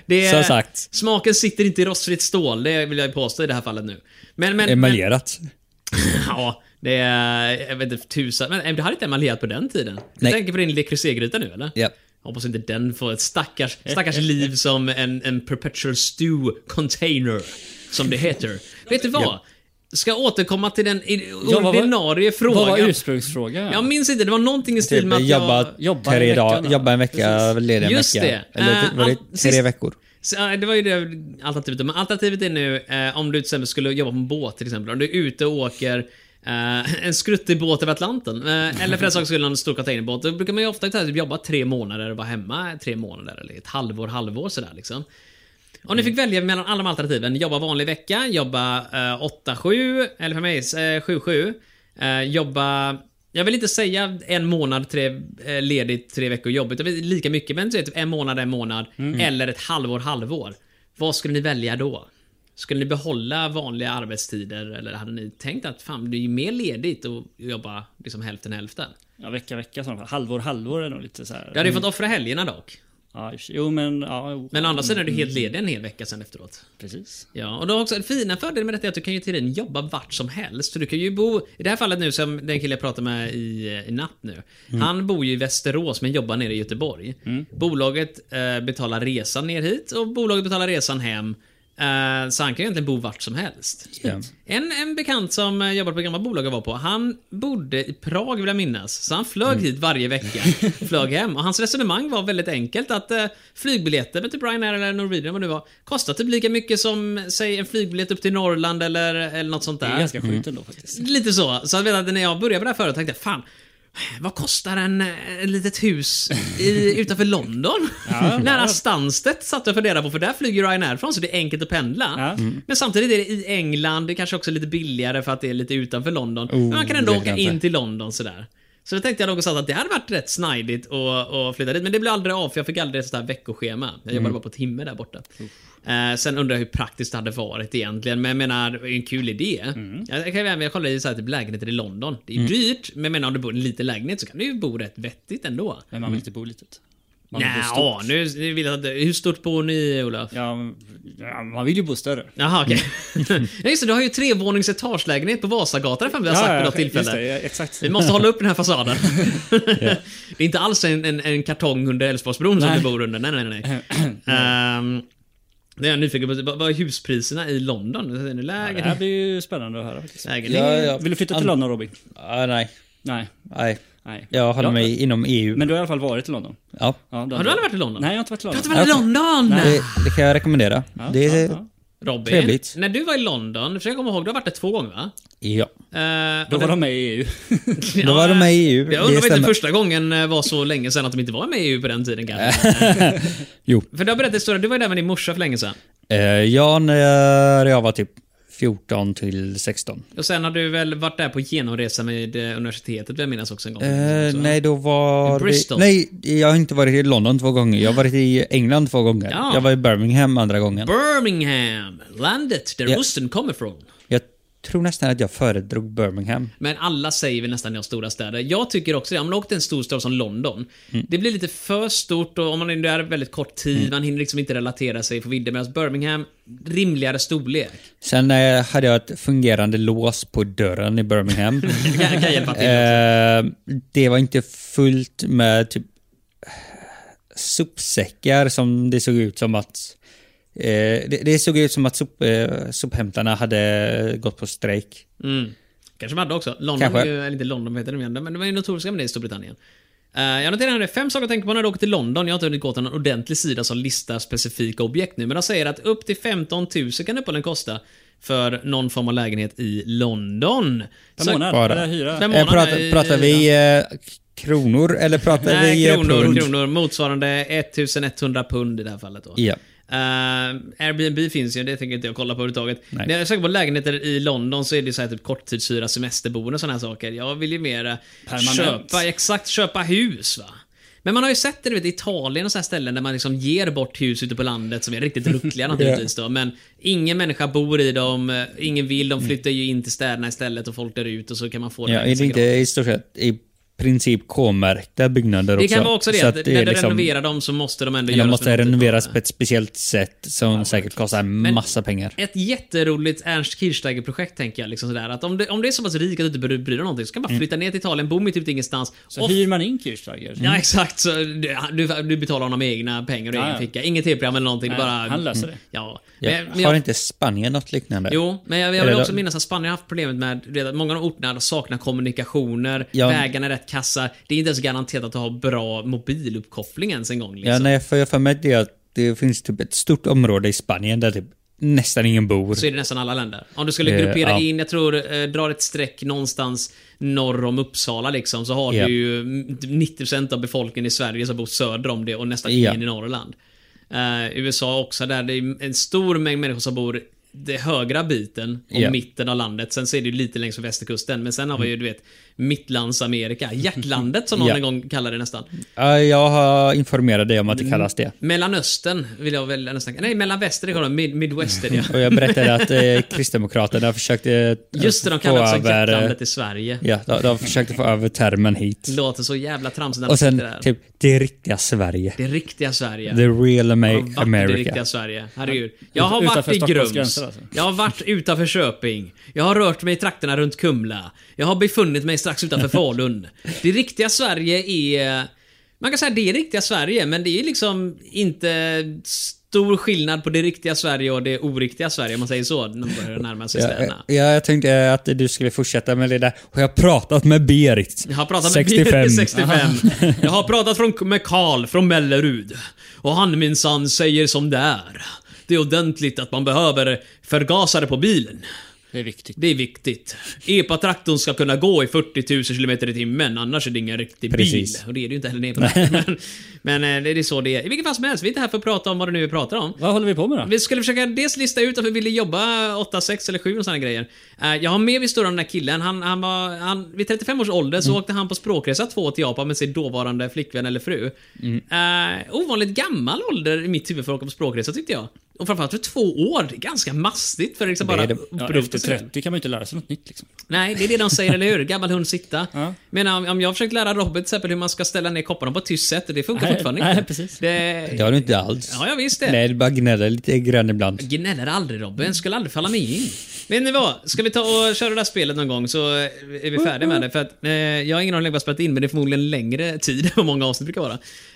Speaker 2: Det är,
Speaker 3: Som sagt.
Speaker 2: Smaken sitter inte i rostfritt stål, det vill jag ju påstå i det här fallet nu. Men, men, men,
Speaker 3: Emaljerat.
Speaker 2: Ja, det är... Jag vet inte, tusan... Men eh, det hade inte emaljerat på den tiden. Du
Speaker 3: Nej.
Speaker 2: tänker på din Le Creuset-gryta nu eller?
Speaker 3: Ja.
Speaker 2: Hoppas inte den får ett stackars, stackars liv som en, en perpetual stew container, som det heter. Vet du vad? Ska jag återkomma till den i-
Speaker 1: vad var-
Speaker 2: ordinarie frågan.
Speaker 1: Vad var ursprungsfrågan?
Speaker 2: Jag minns inte, det var någonting i stil
Speaker 3: Typ
Speaker 2: med att
Speaker 3: jobba
Speaker 2: jag...
Speaker 1: jobba en
Speaker 3: tre
Speaker 1: vecka
Speaker 3: dagar,
Speaker 1: då.
Speaker 3: jobba en vecka,
Speaker 1: Precis.
Speaker 3: ledig en
Speaker 2: Just
Speaker 3: vecka.
Speaker 2: det.
Speaker 3: Eller typ-
Speaker 2: Eh,
Speaker 3: var det
Speaker 2: all-
Speaker 3: tre
Speaker 2: sist-
Speaker 3: veckor?
Speaker 2: Så, eh, det var ju det alternativet. Men alternativet är nu eh, om du till exempel skulle jobba på en båt till exempel. Om du är ute och åker eh, en skruttig båt över Atlanten. Eh, eller för den sakens skull en stor containerbåt. Då brukar man ju ofta ta- typ, jobba tre månader och vara hemma eh, tre månader. Eller ett halvår, halvår sådär liksom. Om ni fick välja mellan alla de alternativen, jobba vanlig vecka, jobba eh, 8-7, eller för mig eh, 7-7, eh, jobba... Jag vill inte säga en månad tre, eh, ledigt, tre veckor jobb, utan lika mycket, men typ en månad, en månad, eller ett halvår, halvår. Vad skulle ni välja då? Skulle ni behålla vanliga arbetstider, eller hade ni tänkt att fan, det är ju mer ledigt att jobba liksom hälften, hälften?
Speaker 1: Ja, vecka, vecka i sådana fall. Halvår, halvår är nog lite så här.
Speaker 2: Du hade ju fått offra helgerna dock.
Speaker 1: Ja, i och för sig. jo, men... Ja, jo.
Speaker 2: Men å andra sidan är du helt ledig en hel vecka sen efteråt.
Speaker 1: Precis.
Speaker 2: Ja, och då också en fina fördel med detta är att du kan ju till din jobba vart som helst. Så du kan ju bo, i det här fallet nu som den kille jag pratade med i, eh, i natt nu. Han bor ju i Västerås men jobbar nere i Göteborg. Bolaget eh, betalar resan ner hit och bolaget betalar resan hem. Eh, så han kan ju egentligen bo vart som helst.
Speaker 3: Ja.
Speaker 2: En, en bekant som eh, jobbade på det gamla bolag jag var på, han bodde i Prag vill jag minnas. Så han flög hit varje vecka, flög hem. Och hans resonemang var väldigt enkelt att eh, flygbiljetter med typ Ryanair eller Norwegian vad det nu var, kostar typ lika mycket som, säg en flygbiljett upp till Norrland eller, eller något sånt
Speaker 1: Det är
Speaker 2: där.
Speaker 1: ganska sjukt ändå faktiskt.
Speaker 2: Lite så. Så jag vet att när jag började med det här företaget tänkte jag, fan, vad kostar en, eh, ett litet hus i, utanför London? Nära Stansted satt jag och funderade på, för där flyger Ryanair från, så det är enkelt att pendla.
Speaker 1: Ja.
Speaker 2: Men samtidigt är det i England, det kanske också är lite billigare för att det är lite utanför London.
Speaker 1: Oh,
Speaker 2: Men man kan ändå
Speaker 3: det
Speaker 2: åka
Speaker 3: kanske.
Speaker 2: in till London sådär. Så då tänkte jag någonstans att det hade varit rätt snajdigt att, att flytta dit. Men det blev aldrig av för jag fick aldrig ett sånt här veckoschema. Jag
Speaker 1: Mm.
Speaker 2: jobbade bara på timme där borta. Eh, sen undrar jag hur praktiskt det hade varit egentligen. Men jag menar, det är ju en kul idé.
Speaker 1: Mm.
Speaker 2: Jag, jag, kan ju även- jag kollade i så här, typ lägenheter i London. Det är ju dyrt, men jag menar om du bor i en liten lägenhet så kan du ju bo rätt vettigt ändå.
Speaker 1: Men man vill inte bo litet. Man vill bo stort.
Speaker 2: Mm. Nja, nu, nu vill jag att... Hur stort bor ni, Olof?
Speaker 1: Ja, men- ja, man vill ju bo större.
Speaker 2: Jaha, okej.
Speaker 1: Mm.
Speaker 2: ja, just det, du har ju trevånings etagelägenhet på Vasagatan för vi har sagt vid något
Speaker 1: just
Speaker 2: tillfälle.
Speaker 1: Det, ja, exakt.
Speaker 2: Vi måste hålla upp den här fasaden. Det är inte alls en, en, en kartong under Älvsborgsbron som
Speaker 1: Nej.
Speaker 2: du bor under. Nej, nej, nej. Ehm, det är jag nyfiken på. Vad vad är huspriserna i London? Är det
Speaker 1: Ja, det
Speaker 2: lägenhet?
Speaker 1: här blir ju spännande att höra faktiskt.
Speaker 2: lägenhet?
Speaker 3: ja.
Speaker 1: Vill du flytta till London Robin?
Speaker 3: Ah, nej,
Speaker 1: Nej.
Speaker 3: nej.
Speaker 1: Nej.
Speaker 3: Jag håller
Speaker 1: Ja,
Speaker 3: mig inom EU.
Speaker 1: Men du har i alla fall varit i London?
Speaker 3: ja.
Speaker 1: Ja, det
Speaker 2: Har du aldrig varit i London?
Speaker 1: Nej, jag har inte varit
Speaker 2: Du
Speaker 1: i
Speaker 2: har
Speaker 1: London.
Speaker 2: inte varit i London!
Speaker 3: Det, det kan jag rekommendera. det är...
Speaker 1: ja.
Speaker 2: Robin,
Speaker 3: Trevligt.
Speaker 2: när du var i London, försök komma ihåg, du har varit där två gånger va?
Speaker 3: Ja.
Speaker 2: Ehm,
Speaker 1: Då
Speaker 2: och
Speaker 1: var
Speaker 2: det-
Speaker 1: de med i E EU.
Speaker 3: Då var de med i EU.
Speaker 2: Jag undrar
Speaker 3: Det
Speaker 2: om inte
Speaker 3: stämmer.
Speaker 2: första gången eh, var så länge sedan att de inte var med i EU på den tiden kanske.
Speaker 3: Jo.
Speaker 2: För du har berättat historien, du var ju där med din morsa för länge sedan.
Speaker 3: Eh, ja, när jag var typ 14 till 16.
Speaker 2: Och sen har du väl varit där på genomresa med eh, universitetet, vill jag minnas också en gång.
Speaker 3: Eh,
Speaker 2: Så.
Speaker 3: nej, då var
Speaker 2: I Bristol.
Speaker 3: Vi, nej, jag har inte varit i London två gånger. Jag har varit i England två gånger.
Speaker 2: Ja.
Speaker 3: Jag var i Birmingham andra gången.
Speaker 2: Birmingham, landet där
Speaker 3: Ja.
Speaker 2: osten kommer ifrån.
Speaker 3: Jag tror nästan att jag föredrog Birmingham.
Speaker 2: Men alla säger vi nästan de stora städer. Jag tycker också det. Om man åker till en stor stad som London,
Speaker 3: Mm.
Speaker 2: det blir lite för stort och om man är där väldigt kort tid, man hinner liksom inte relatera sig på vidden. Medan Birmingham, rimligare storlek.
Speaker 3: Sen eh, hade jag ett fungerande lås på dörren i Birmingham.
Speaker 2: Det kan, kan hjälpa till.
Speaker 3: Eh, det var inte fullt med typ sopsäckar som det såg ut som att... Eh, det, det såg ut som att sop, eh, sophämtarna hade gått på strejk.
Speaker 2: Mm. Kanske de hade också. London,
Speaker 3: Kanske.
Speaker 2: är ju, eller inte London vad heter de igen, men de är ju notoriska med det i Storbritannien. Eh, jag noterar det. Fem saker att tänka på när du åker till London. Jag har inte hunnit gå till någon ordentlig sida som listar specifika objekt nu, men de säger att upp till 15 000 kan uppehållen kosta för någon form av lägenhet i London.
Speaker 1: Per
Speaker 2: Så-
Speaker 1: månad,
Speaker 3: bara.
Speaker 1: eller hyra.
Speaker 2: Fem
Speaker 3: Eh,
Speaker 2: månader
Speaker 3: pratar,
Speaker 2: i-
Speaker 3: pratar vi eh, kronor eller pratar
Speaker 2: Nej,
Speaker 3: vi eh,
Speaker 2: kronor,
Speaker 3: pund?
Speaker 2: kronor. Motsvarande 1100 pund i det här fallet då.
Speaker 3: Ja.
Speaker 2: Eh, Airbnb finns ju, det tänker inte jag kolla på överhuvudtaget.
Speaker 3: Nej.
Speaker 2: När jag söker på lägenheter i London så är det så här typ korttidshyra, semesterboende och sådana här saker. Jag vill ju mer eh,
Speaker 1: Permanent.
Speaker 2: köpa, exakt, köpa hus va. Men man har ju sett det du vet, i Italien och så här ställen där man liksom ger bort hus ute på landet som är riktigt ruckliga naturligtvis då. Men ingen människa bor i dem, eh, ingen vill, de flyttar ju in till städerna istället och folk där ut och så kan man få
Speaker 3: Ja,
Speaker 2: här liksom
Speaker 3: är det
Speaker 2: extra
Speaker 3: inte i stort sett i princip K-märkta byggnader också?
Speaker 2: det kan vara också det,
Speaker 3: Så
Speaker 2: att
Speaker 3: att
Speaker 2: när du
Speaker 3: liksom-
Speaker 2: renoverar dem så måste de ändå
Speaker 3: De
Speaker 2: göras
Speaker 3: måste
Speaker 2: med någon typ av-
Speaker 3: renoveras på ett speciellt sätt som säkert kostar massa pengar.
Speaker 2: Ett jätteroligt Ernst Kirchsteiger-projekt tänker jag. Liksom sådär, att om, du, om du är så pass rik att du inte bryr dig om någonting så kan du
Speaker 3: Mm.
Speaker 2: bara flytta ner till Italien, bo mitt ute ingenstans.
Speaker 1: Så
Speaker 2: och-
Speaker 1: hyr man in Kirchsteiger.
Speaker 3: Mm.
Speaker 2: Ja exakt, så du, du, du betalar honom med egna pengar och
Speaker 1: Ja,
Speaker 2: egen
Speaker 1: ja.
Speaker 2: ficka. Inget tv-program eller någonting.
Speaker 1: Nej,
Speaker 2: bara, Mm.
Speaker 1: han löser det.
Speaker 2: Ja. Men-
Speaker 3: Ja.
Speaker 2: men jag-
Speaker 3: Har inte Spanien något liknande?
Speaker 2: Jo, men jag, jag vill
Speaker 3: Eller-
Speaker 2: också minnas att Spanien har haft problemet med du vet, att många av orterna saknar kommunikationer,
Speaker 3: Ja.
Speaker 2: vägarna är rätt kassa. Det är inte ens garanterat att ha bra mobiluppkoppling ens en gång. Liksom.
Speaker 3: Ja, nej, för jag har för mig det att det finns typ ett stort område i Spanien där typ nästan ingen bor.
Speaker 2: Så är det nästan alla länder. Om du skulle
Speaker 3: Eh,
Speaker 2: gruppera
Speaker 3: ja.
Speaker 2: in, jag tror, eh, drar ett streck någonstans norr om Uppsala liksom, så har
Speaker 3: Ja.
Speaker 2: du ju mm, 90% av befolkningen i Sverige som bor söder om det och nästan
Speaker 3: Ja.
Speaker 2: ingen i Norrland. Eh, USA också, där det är en stor mängd människor som bor den högra biten och
Speaker 3: Ja.
Speaker 2: mitten av landet. Sen så är det ju lite längs med västkusten. Men sen har vi ju, du vet, Mittlandsamerika. Hjärtlandet som någon
Speaker 3: Ja.
Speaker 2: en gång kallade det nästan.
Speaker 3: Ja, jag har informerat dig om att det
Speaker 2: Mm.
Speaker 3: kallas det.
Speaker 2: Mellanöstern vill jag väl nästan... Nej, mellanväster, det kallar de Mid- Midwestern ja.
Speaker 3: Och jag berättade att eh, Kristdemokraterna försökte eh,
Speaker 2: Just det, de kallar det också
Speaker 3: eh,
Speaker 2: hjärtlandet i Sverige.
Speaker 3: Ja, de, de försökte få över termen hit.
Speaker 2: Låter så jävla tramsigt när de
Speaker 3: Och sen
Speaker 2: sitter där.
Speaker 3: typ det riktiga Sverige.
Speaker 2: Det riktiga Sverige.
Speaker 3: The real
Speaker 2: Har
Speaker 3: Ama-
Speaker 2: de varit i det
Speaker 3: America.
Speaker 2: riktiga Sverige. Herregud. Jag har
Speaker 1: Utanför
Speaker 2: varit i
Speaker 1: Stockholms
Speaker 2: Grums.
Speaker 1: gränser, alltså.
Speaker 2: Jag har varit utanför Köping. Jag har rört mig i trakterna runt Kumla. Jag har befunnit mig strax utanför Falun. Det riktiga Sverige är... Man kan säga det är riktiga Sverige, men det är liksom inte stor skillnad på det riktiga Sverige och det oriktiga Sverige, om man säger så, när man börjar närma sig
Speaker 3: Ja, eh,
Speaker 2: städerna.
Speaker 3: ja, jag tänkte eh, att du skulle fortsätta med det där. Och jag har pratat med Berit.
Speaker 2: Jag har pratat med Peter 65. Jag har pratat från, med Karl från Mellerud. Och han minsann säger som det är. Det är ordentligt att man behöver förgasare på bilen.
Speaker 1: Det är viktigt.
Speaker 2: Det är viktigt. Epa-traktorn ska kunna gå i 40 000 km i timmen, annars är det ingen riktig
Speaker 3: Precis.
Speaker 2: bil. Och det är det ju inte heller en epa-traktor. men, men eh, det är så det är. I vilket fall som helst, vi är inte här för att prata om vad det nu är vi pratar om.
Speaker 1: Vad håller vi på med då?
Speaker 2: Vi skulle försöka dels lista ut om vi ville jobba 8, 6 eller 7 och sådana grejer. Eh, Jag har med vid stora om den här killen. Han, han var, han, vid 35 års ålder så
Speaker 1: Mm.
Speaker 2: åkte han på språkresa två år till Japan med sin dåvarande flickvän eller fru.
Speaker 1: Mm.
Speaker 2: Eh, ovanligt gammal ålder i mitt huvud för att åka på språkresa tyckte jag. Och framförallt för två år. Det är ganska mastigt för att liksom bara
Speaker 3: är det.
Speaker 1: Ja,
Speaker 2: upprota
Speaker 1: efter
Speaker 2: sig själv.
Speaker 1: 30 kan man ju inte lära sig något nytt liksom.
Speaker 2: Nej, det är det de säger, eller hur? Gammal hund sitta.
Speaker 1: Ja.
Speaker 2: Men om, om jag har försökt lära Robert till exempel hur man ska ställa ner kopparna på ett tyst sätt, det funkar
Speaker 1: Nej,
Speaker 2: fortfarande
Speaker 1: nej,
Speaker 2: inte.
Speaker 1: precis.
Speaker 2: Det,
Speaker 3: Det har du inte alls.
Speaker 2: Ja, jag visste.
Speaker 3: Nej, du bara gnäller lite grann ibland.
Speaker 2: Gnäller aldrig
Speaker 1: Mm.
Speaker 2: Robin, skulle aldrig falla mig in. Men ni vad? Ska vi ta och köra det här spelet någon gång så eh, är vi färdiga med det. För att, eh, jag har ingen aning om vad jag har spelat in, men det är förmodligen längre tid än vad många avsnitt brukar vara.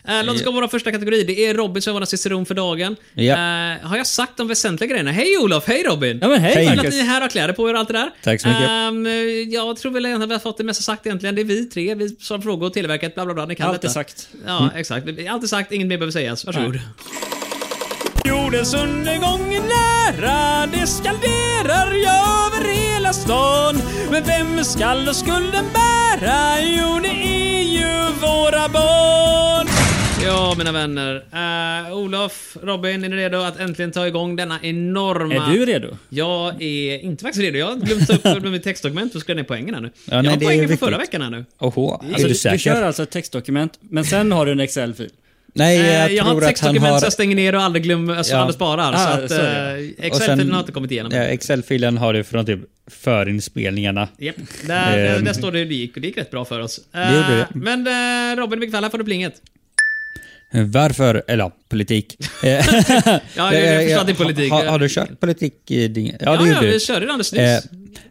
Speaker 2: Eh, låt oss gå på vår första kategori. Det är Robin som är vår ciceron för dagen.
Speaker 3: Ja.
Speaker 2: Eh, har jag sagt de väsentliga grejerna? Hej Olof, hej Robin!
Speaker 1: Ja men hej,
Speaker 3: Hej.
Speaker 2: Kul att
Speaker 1: Marcus!
Speaker 2: ni är här och har kläder på er och allt det där.
Speaker 3: Tack så mycket.
Speaker 2: Ehm, jag tror väl egentligen att vi har fått det mesta sagt egentligen. Det är vi tre, vi svarar på frågor, Televerket, bla bla bla. Ni kan
Speaker 1: Allt är
Speaker 2: detta.
Speaker 1: sagt. Mm.
Speaker 2: Ja, exakt. Allt är sagt, inget mer behöver sägas. Varsågod.
Speaker 1: Jordens undergång är nära, det skalderar jag över hela stan. Men vem skall då skulden bära? Jo, det är ju våra barn.
Speaker 2: Ja, mina vänner. Uh, Olof, Robin, är ni redo att äntligen ta igång denna enorma...
Speaker 1: Är du redo?
Speaker 2: Jag är inte faktiskt redo. Jag har glömt ta upp mitt textdokument och skriva ner poängen här nu. jag
Speaker 3: nej,
Speaker 2: har
Speaker 3: det är
Speaker 2: poängen från
Speaker 3: viktigt.
Speaker 2: förra veckan här nu.
Speaker 3: Oho, är
Speaker 1: Alltså,
Speaker 3: du
Speaker 1: du, du
Speaker 3: säker?
Speaker 1: kör alltså ett textdokument, men sen har du en Excel-fil.
Speaker 3: Nej,
Speaker 2: Eh,
Speaker 3: jag,
Speaker 2: jag har
Speaker 3: tror
Speaker 2: inte
Speaker 3: att
Speaker 2: sex
Speaker 3: han
Speaker 2: dokument
Speaker 3: har...
Speaker 2: så jag stänger ner och aldrig, glömmer, alltså,
Speaker 3: Ja.
Speaker 2: aldrig sparar.
Speaker 3: Ah,
Speaker 2: så att,
Speaker 3: så är det.
Speaker 2: eh,
Speaker 3: Och sen-
Speaker 2: Excel-filen har inte kommit igenom.
Speaker 3: Ja, Excel-filen har du från typ förinspelningarna.
Speaker 2: Japp, där, där,
Speaker 3: Ehm.
Speaker 2: där står det hur det gick och det gick rätt bra för oss.
Speaker 3: Det gjorde
Speaker 2: Eh,
Speaker 3: det.
Speaker 2: Men eh, Robin, vilken fall här får du plinget.
Speaker 3: Varför? Eller ja, politik. Eh,
Speaker 2: Ja, jag, jag förstår att det är politik.
Speaker 3: Har, har du kört politik? i din- Ja,
Speaker 2: Ja,
Speaker 3: det
Speaker 2: ja,
Speaker 3: gjorde
Speaker 2: vi
Speaker 3: du.
Speaker 2: körde det alldeles
Speaker 3: Eh,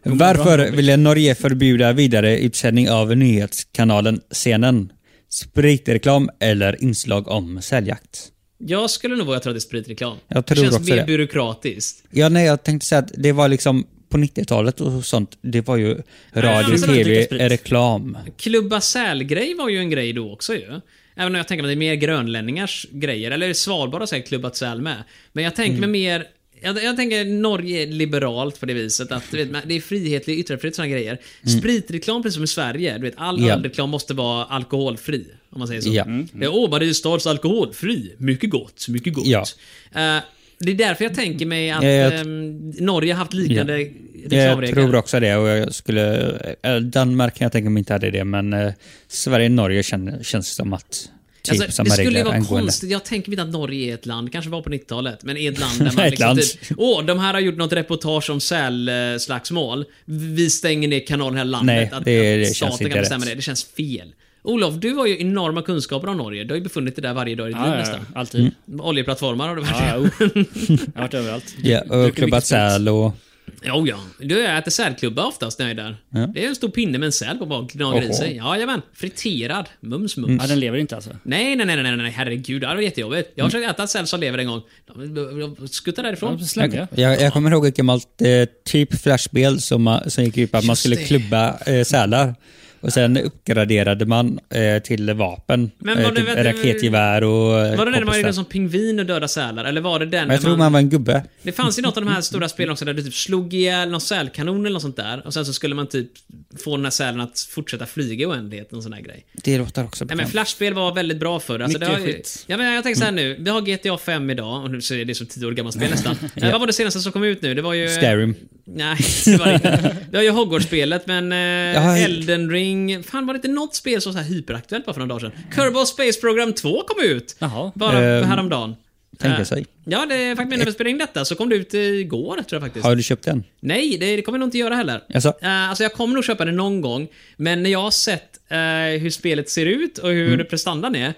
Speaker 2: nyss.
Speaker 3: varför ville Norge förbjuda vidare utsändning av nyhetskanalen CNN? Spritreklam eller inslag om säljakt?
Speaker 2: Jag skulle nog våga tro att det är spritreklam.
Speaker 3: Jag tror
Speaker 2: det känns
Speaker 3: också
Speaker 2: mer
Speaker 3: det.
Speaker 2: byråkratiskt.
Speaker 3: Ja, nej, jag tänkte säga att det var liksom på 90-talet och sånt, det var ju radio,
Speaker 2: men så
Speaker 3: tv,
Speaker 5: dricker sprit.
Speaker 3: reklam.
Speaker 2: Klubba sälgrej var ju en grej då också ju. Även om jag tänker mig att det är mer grönlänningars grejer, eller Svalbard har säkert klubbat säl med. Men jag tänker
Speaker 3: Mm.
Speaker 2: mig mer jag, jag tänker Norge är liberalt på det viset att du vet, men det är frihetlig yttrandefrihet och sådana grejer. Spritreklam precis som i Sverige, du vet all
Speaker 3: Mm. Ja.
Speaker 2: ölreklam måste vara alkoholfri. Om man säger så.
Speaker 3: Ja.
Speaker 2: Det är Åh, Mariestads alkoholfri. Mycket gott, mycket gott.
Speaker 3: Ja.
Speaker 2: Eh, det är därför jag tänker mig att
Speaker 3: Ja, jag- Eh,
Speaker 2: ehm, Norge har haft liknande
Speaker 3: Jag
Speaker 2: reklamregler.
Speaker 3: tror också det och jag skulle... eh, Danmark kan jag tänka mig inte hade det men eh, Sverige och Norge känner, känns som att typ
Speaker 2: Alltså,
Speaker 3: samma
Speaker 2: det skulle
Speaker 3: regler
Speaker 2: ju vara
Speaker 3: angående.
Speaker 2: konstigt. Jag tänker mig inte att Norge är ett land, kanske var på 90-talet, men är ett land där man
Speaker 3: Ett
Speaker 2: liksom
Speaker 3: land.
Speaker 2: typ, Åh, de här har gjort något reportage om sälslagsmål. Vi stänger ner kanalen här i landet.
Speaker 3: Nej, det- det
Speaker 2: staten
Speaker 3: känns inte
Speaker 2: kan bestämma
Speaker 3: rätt.
Speaker 2: det. Det känns fel. Olof, du har ju enorma kunskaper om Norge. Du har ju befunnit dig där varje dag i ditt liv
Speaker 5: Ja, ja,
Speaker 2: nästan.
Speaker 5: alltid.
Speaker 2: Oljeplattformar har du varit.
Speaker 5: Ja,
Speaker 2: Ja,
Speaker 5: ja, oh. Jag har varit överallt.
Speaker 3: Ja, och
Speaker 5: Druckit
Speaker 3: klubbat
Speaker 5: mycket sprit.
Speaker 3: säl och...
Speaker 2: Jo, ja. Du jag äter sälklubba oftast när jag är där. Det är en stor pinne med en säl på baken. gnager i
Speaker 3: Oho. Mm.
Speaker 2: sig. Jajamän. Friterad. Mums, mums.
Speaker 5: Ja, den lever inte alltså.
Speaker 2: Nej, nej, nej, nej, nej, herregud. Det här var jättejobbigt. Jag har försökt äta säl som lever en gång. De- de- de Skutta därifrån.
Speaker 5: Ja, slängde jag.
Speaker 3: Jag, jag kommer ihåg ett gammalt eh, typ flashspel som, man- som gick ut på att man
Speaker 2: Just
Speaker 3: skulle
Speaker 2: det.
Speaker 3: klubba eh, sälar. Och sen uppgraderade man eh, till vapen.
Speaker 2: Men var
Speaker 3: eh,
Speaker 2: det-
Speaker 3: typ
Speaker 2: vet du-
Speaker 3: raketgevär och... eh,
Speaker 2: Var det den där man
Speaker 3: kompisar.
Speaker 2: gjorde som pingvin och döda sälar? Eller var det den
Speaker 3: Men jag
Speaker 2: där
Speaker 3: tror man var en gubbe.
Speaker 2: Det fanns ju något av de här stora spelen också där du typ slog ihjäl någon sälkanon eller något sånt där. Och sen så skulle man typ få den här sälen att fortsätta flyga i oändlighet. Någon sån där grej.
Speaker 3: Det låter också
Speaker 2: Nej men
Speaker 3: bekant.
Speaker 2: flashspel var väldigt bra förr. Alltså, det
Speaker 5: Mycket
Speaker 2: har ju,
Speaker 5: skit.
Speaker 2: ja, men jag tänker så här
Speaker 3: Mm.
Speaker 2: nu. Vi har GTA 5 idag. Och nu så är det som 10 år gammalt spel nästan. Eh, Vad var det senaste som kom ut nu? Det var ju...
Speaker 3: Skyrim.
Speaker 2: Nej, det var det inte. Vi har ju Hogwarts-spelet, men eh,
Speaker 3: Jaha.
Speaker 2: Elden Ring... Fan, var det inte något spel som var så här hyperaktuellt bara för några dagar sedan? Kerbal Space Program 2 kom ut!
Speaker 5: Jaha.
Speaker 2: Bara
Speaker 3: Ehm,
Speaker 2: häromdagen.
Speaker 3: tänker
Speaker 2: Eh,
Speaker 3: sig.
Speaker 2: Ja, det är faktiskt när vi spelade in detta så kom det ut igår, tror jag faktiskt.
Speaker 3: Har du köpt den?
Speaker 2: Nej, det, det kommer jag nog inte göra heller.
Speaker 3: Jaså?
Speaker 2: Eh, alltså jag kommer nog köpa det någon gång, men när jag har sett eh, hur spelet ser ut och hur
Speaker 3: Mm.
Speaker 2: prestandan är,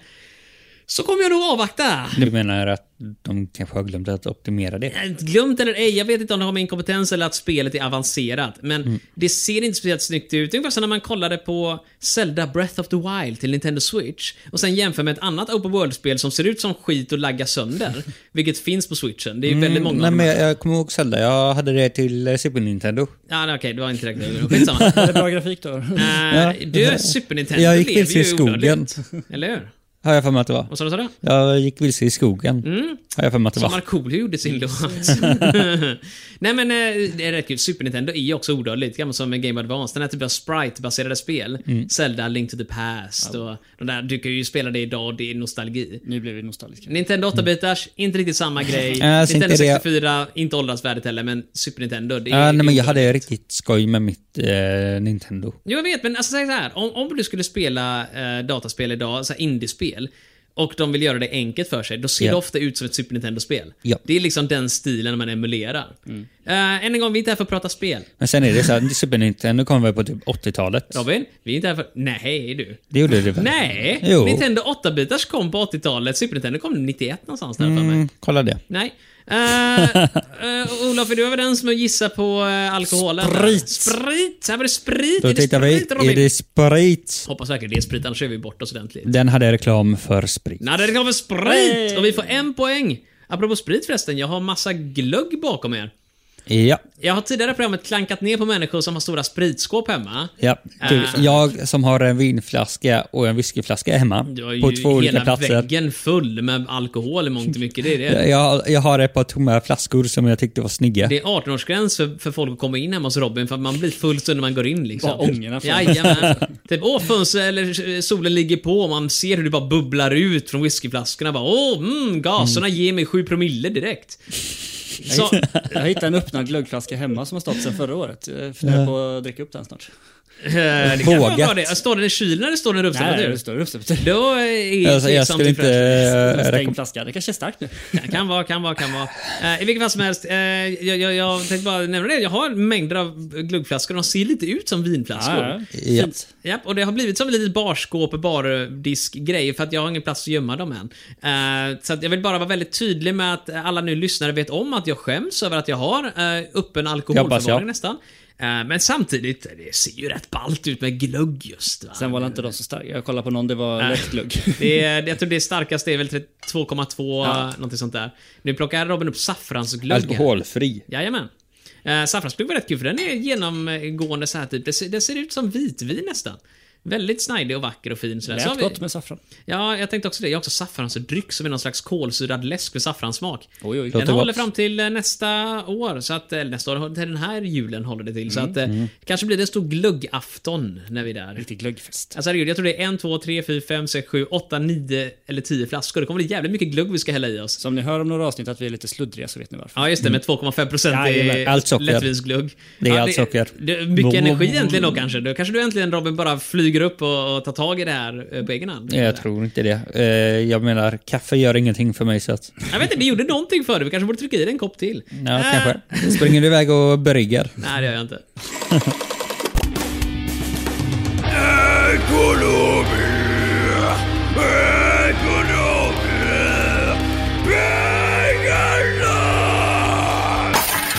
Speaker 2: så kommer jag nog avvakta.
Speaker 3: Du menar att de kanske har glömt att optimera det?
Speaker 2: Eh, Glömt eller ej, jag vet inte om det har med inkompetens eller att spelet är avancerat. Men
Speaker 3: Mm.
Speaker 2: det ser inte speciellt snyggt ut. Ungefär som när man kollade på Zelda Breath of the Wild till Nintendo Switch. Och sen jämför med ett annat Open World-spel som ser ut som skit och laggar sönder. vilket finns på Switchen. Det är ju väldigt många
Speaker 3: Mm,
Speaker 2: av de
Speaker 3: Nej, men
Speaker 2: här.
Speaker 3: jag, jag kommer ihåg Zelda. Jag hade det till eh, Super Nintendo.
Speaker 2: Ja, nej, okej, det var inte räknat. Skitsamma.
Speaker 5: Var det bra grafik då?
Speaker 2: Uh, du, Super Nintendo
Speaker 3: Jag gick
Speaker 2: lever
Speaker 3: vilse
Speaker 2: ju
Speaker 3: i skogen.
Speaker 2: odödligt. Eller hur?
Speaker 3: Har jag för mig att det var.
Speaker 2: Vad sa du? Sa du?
Speaker 3: Jag gick vilse i skogen. Har jag för mig att det
Speaker 2: Mm. Som
Speaker 3: var.
Speaker 2: Markoolio gjorde sin
Speaker 3: Mm.
Speaker 2: låt. Nej men eh, det är rätt kul. Super Nintendo är ju också odödligt. Gammalt som en Game Boy Advance. Den här typen av sprite-baserade spel.
Speaker 3: Mm.
Speaker 2: Zelda, Link to the Past och de där. Du kan ju spela det idag och det är nostalgi.
Speaker 5: Nu blev vi nostalgiska.
Speaker 2: Nintendo 8-bitars, inte riktigt samma grej.
Speaker 3: Ja, alltså,
Speaker 2: Nintendo
Speaker 3: Mm. inte det.
Speaker 2: 64, inte åldrasvärdigt heller, men Super Nintendo. Det är
Speaker 3: Ja,
Speaker 2: det
Speaker 3: nej,
Speaker 2: är
Speaker 3: men jag
Speaker 2: odödligt.
Speaker 3: hade riktigt skoj med mitt eh, Nintendo.
Speaker 2: Jo, jag vet, men alltså, säg så här. Om, om du skulle spela eh, dataspel idag, så här indiespel, och de vill göra det enkelt för sig, då ser
Speaker 3: Ja.
Speaker 2: det ofta ut som ett Super Nintendo-spel.
Speaker 3: Ja. Mm.
Speaker 2: Det är liksom den stilen man emulerar. Eh, än en gång, vi är inte här för att prata spel.
Speaker 3: Men sen är det så här, Super Nintendo kom väl på typ 80-talet?
Speaker 2: Robin, vi är inte här för... Nej, du.
Speaker 3: Det gjorde det väl?
Speaker 2: Nej!
Speaker 3: Jo.
Speaker 2: Nintendo 8-bitars kom på 80-talet, Super Nintendo kom 91 någonstans där för mig.
Speaker 3: Mm, kolla det.
Speaker 2: Nej. Uh, Olof, är du överens med att gissa på eh, alkoholen?
Speaker 5: Sprit.
Speaker 2: Sprit! Här var det sprit!
Speaker 3: Då
Speaker 2: är det
Speaker 3: tittar vi.
Speaker 2: sprit, Robin?
Speaker 3: Är det sprit?
Speaker 2: Hoppas verkligen det är sprit, annars är vi bort oss ordentligt.
Speaker 3: Den hade reklam för sprit.
Speaker 2: Nej, det är reklam för sprit! Och vi får en poäng. Apropå sprit förresten, jag har massa glögg bakom er.
Speaker 3: Ja.
Speaker 2: Jag har tidigare i programmet klankat ner på människor som har stora spritskåp hemma.
Speaker 3: Ja, du,
Speaker 2: Äh.
Speaker 3: jag som har en vinflaska och en whiskyflaska hemma
Speaker 2: Du har ju
Speaker 3: på två olika
Speaker 2: hela
Speaker 3: platser.
Speaker 2: väggen full med alkohol i mångt och mycket. Det är det.
Speaker 3: Jag, jag har ett par tomma flaskor som jag tyckte var snygga.
Speaker 2: Det är 18-årsgräns för, för folk att komma in hemma hos Robin för att man blir full stund när man går in liksom.
Speaker 5: Bara ångorna fram.
Speaker 2: Jajamän. Typ åh fönstret eller eh, solen ligger på och man ser hur det bara bubblar ut från whiskyflaskorna. Bara, åh, mm, gaserna ger mig 7 promille direkt. Så,
Speaker 5: Eh, Jag hittade en öppnad glöggflaska hemma som har stått sedan förra året. Jag funderar på att dricka upp den snart.
Speaker 2: Eh, Det kan vara
Speaker 3: Vågat.
Speaker 2: bra det. Står den i kylen eller står den i
Speaker 5: Nej,
Speaker 2: rumstemperaturen?
Speaker 5: det står uppställt.
Speaker 2: Då är det
Speaker 3: Alltså, jag
Speaker 2: tveksamt
Speaker 3: skulle
Speaker 2: till
Speaker 3: inte...
Speaker 2: fräschhet.
Speaker 3: eh,
Speaker 5: Stängd
Speaker 3: rekom-
Speaker 5: flaska. Det kanske är starkt nu.
Speaker 2: Kan vara, kan vara, kan vara. Eh, I vilket fall som helst, eh, jag, jag, jag tänkte bara nämna det. Jag har mängder av glöggflaskor. De ser lite ut som vinflaskor.
Speaker 5: Ja,
Speaker 3: Ja.
Speaker 5: ja. Fint.
Speaker 2: Japp, och det har blivit som ett litet barskåp och bardisk-grej för att jag har ingen plats att gömma dem än. Eh, så att jag vill bara vara väldigt tydlig med att alla nu lyssnare vet om att jag skäms över att jag har eh, öppen
Speaker 3: Jag hoppas
Speaker 2: alkoholförvaring
Speaker 3: jag.
Speaker 2: nästan. Eh, men samtidigt, det ser ju rätt ballt ut med glögg just. Va?
Speaker 5: Sen var det inte de så starka. Jag kollade på någon, det var lättglugg.
Speaker 2: Det är, jag tror det starkaste är väl 2,2, ja. någonting sånt där. Nu plockar Robin upp saffransglögg. här.
Speaker 3: Alkoholfri.
Speaker 2: Jajamän. Eh, saffransglögg var rätt kul för den är genomgående så här typ. Det ser, det ser ut som vitvin nästan. Väldigt snajdig och vacker och fin. Sådär. Så har
Speaker 5: Lät
Speaker 2: vi-
Speaker 5: gott med saffran.
Speaker 2: Ja, jag tänkte också det. Jag har också saffransdryck som är någon slags kolsyrad läsk med saffranssmak.
Speaker 5: Oj, oj.
Speaker 2: Den
Speaker 3: Låter
Speaker 2: håller
Speaker 3: gott.
Speaker 2: fram till eh, nästa år, så att, eh, eller nästa år, till den här julen håller det till. Så att, eh, kanske blir det en stor glöggafton när vi är där.
Speaker 5: Riktig glöggfest.
Speaker 2: Alltså herregud, jag tror det är 1, 2, 3, 4, 5, 6, 7, 8, 9 eller 10 flaskor. Det kommer bli jävligt mycket glögg vi ska hälla i oss.
Speaker 5: Så om ni hör om några avsnitt att vi är lite sluddriga så vet ni varför.
Speaker 2: Ja, just det.
Speaker 3: Mm.
Speaker 2: Med 2,5% i
Speaker 3: Jajamän. Allt socker.
Speaker 2: lättvinsglögg.
Speaker 3: Det är
Speaker 2: ja,
Speaker 3: allt socker.
Speaker 2: Det, mycket
Speaker 3: Boom,
Speaker 2: energi
Speaker 3: boom,
Speaker 2: egentligen då kanske. Då kanske du äntligen Robin bara flyger upp och, och tar tag i det här eh, på egen hand.
Speaker 3: Nej, Jag tror inte det. Eh, Jag menar, kaffe gör ingenting för mig så att...
Speaker 2: Jag vet inte, det gjorde någonting för dig. Vi kanske borde trycka i dig en kopp till.
Speaker 3: Ja,
Speaker 2: Äh,
Speaker 3: kanske. Springer du iväg och brygger?
Speaker 2: Nej, det gör jag inte.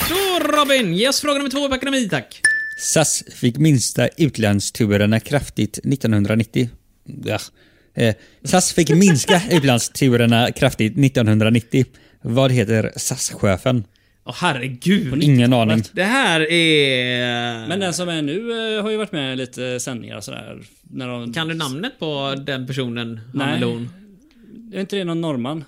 Speaker 2: Då Robin, ge oss fråga nummer två på ekonomi tack.
Speaker 3: SAS fick minsta utlandsturerna kraftigt 1990. Ja. Eh, SAS fick minska utlandsturerna kraftigt 1990. Vad heter SAS-chefen?
Speaker 2: Åh herregud.
Speaker 3: Ingen aning.
Speaker 2: Det här är...
Speaker 5: Men den som är nu eh, har ju varit med i lite sändningar och sådär. När de...
Speaker 2: Kan du namnet på den personen? han
Speaker 5: Nej.
Speaker 2: eller hon?
Speaker 5: Är inte det någon norrman?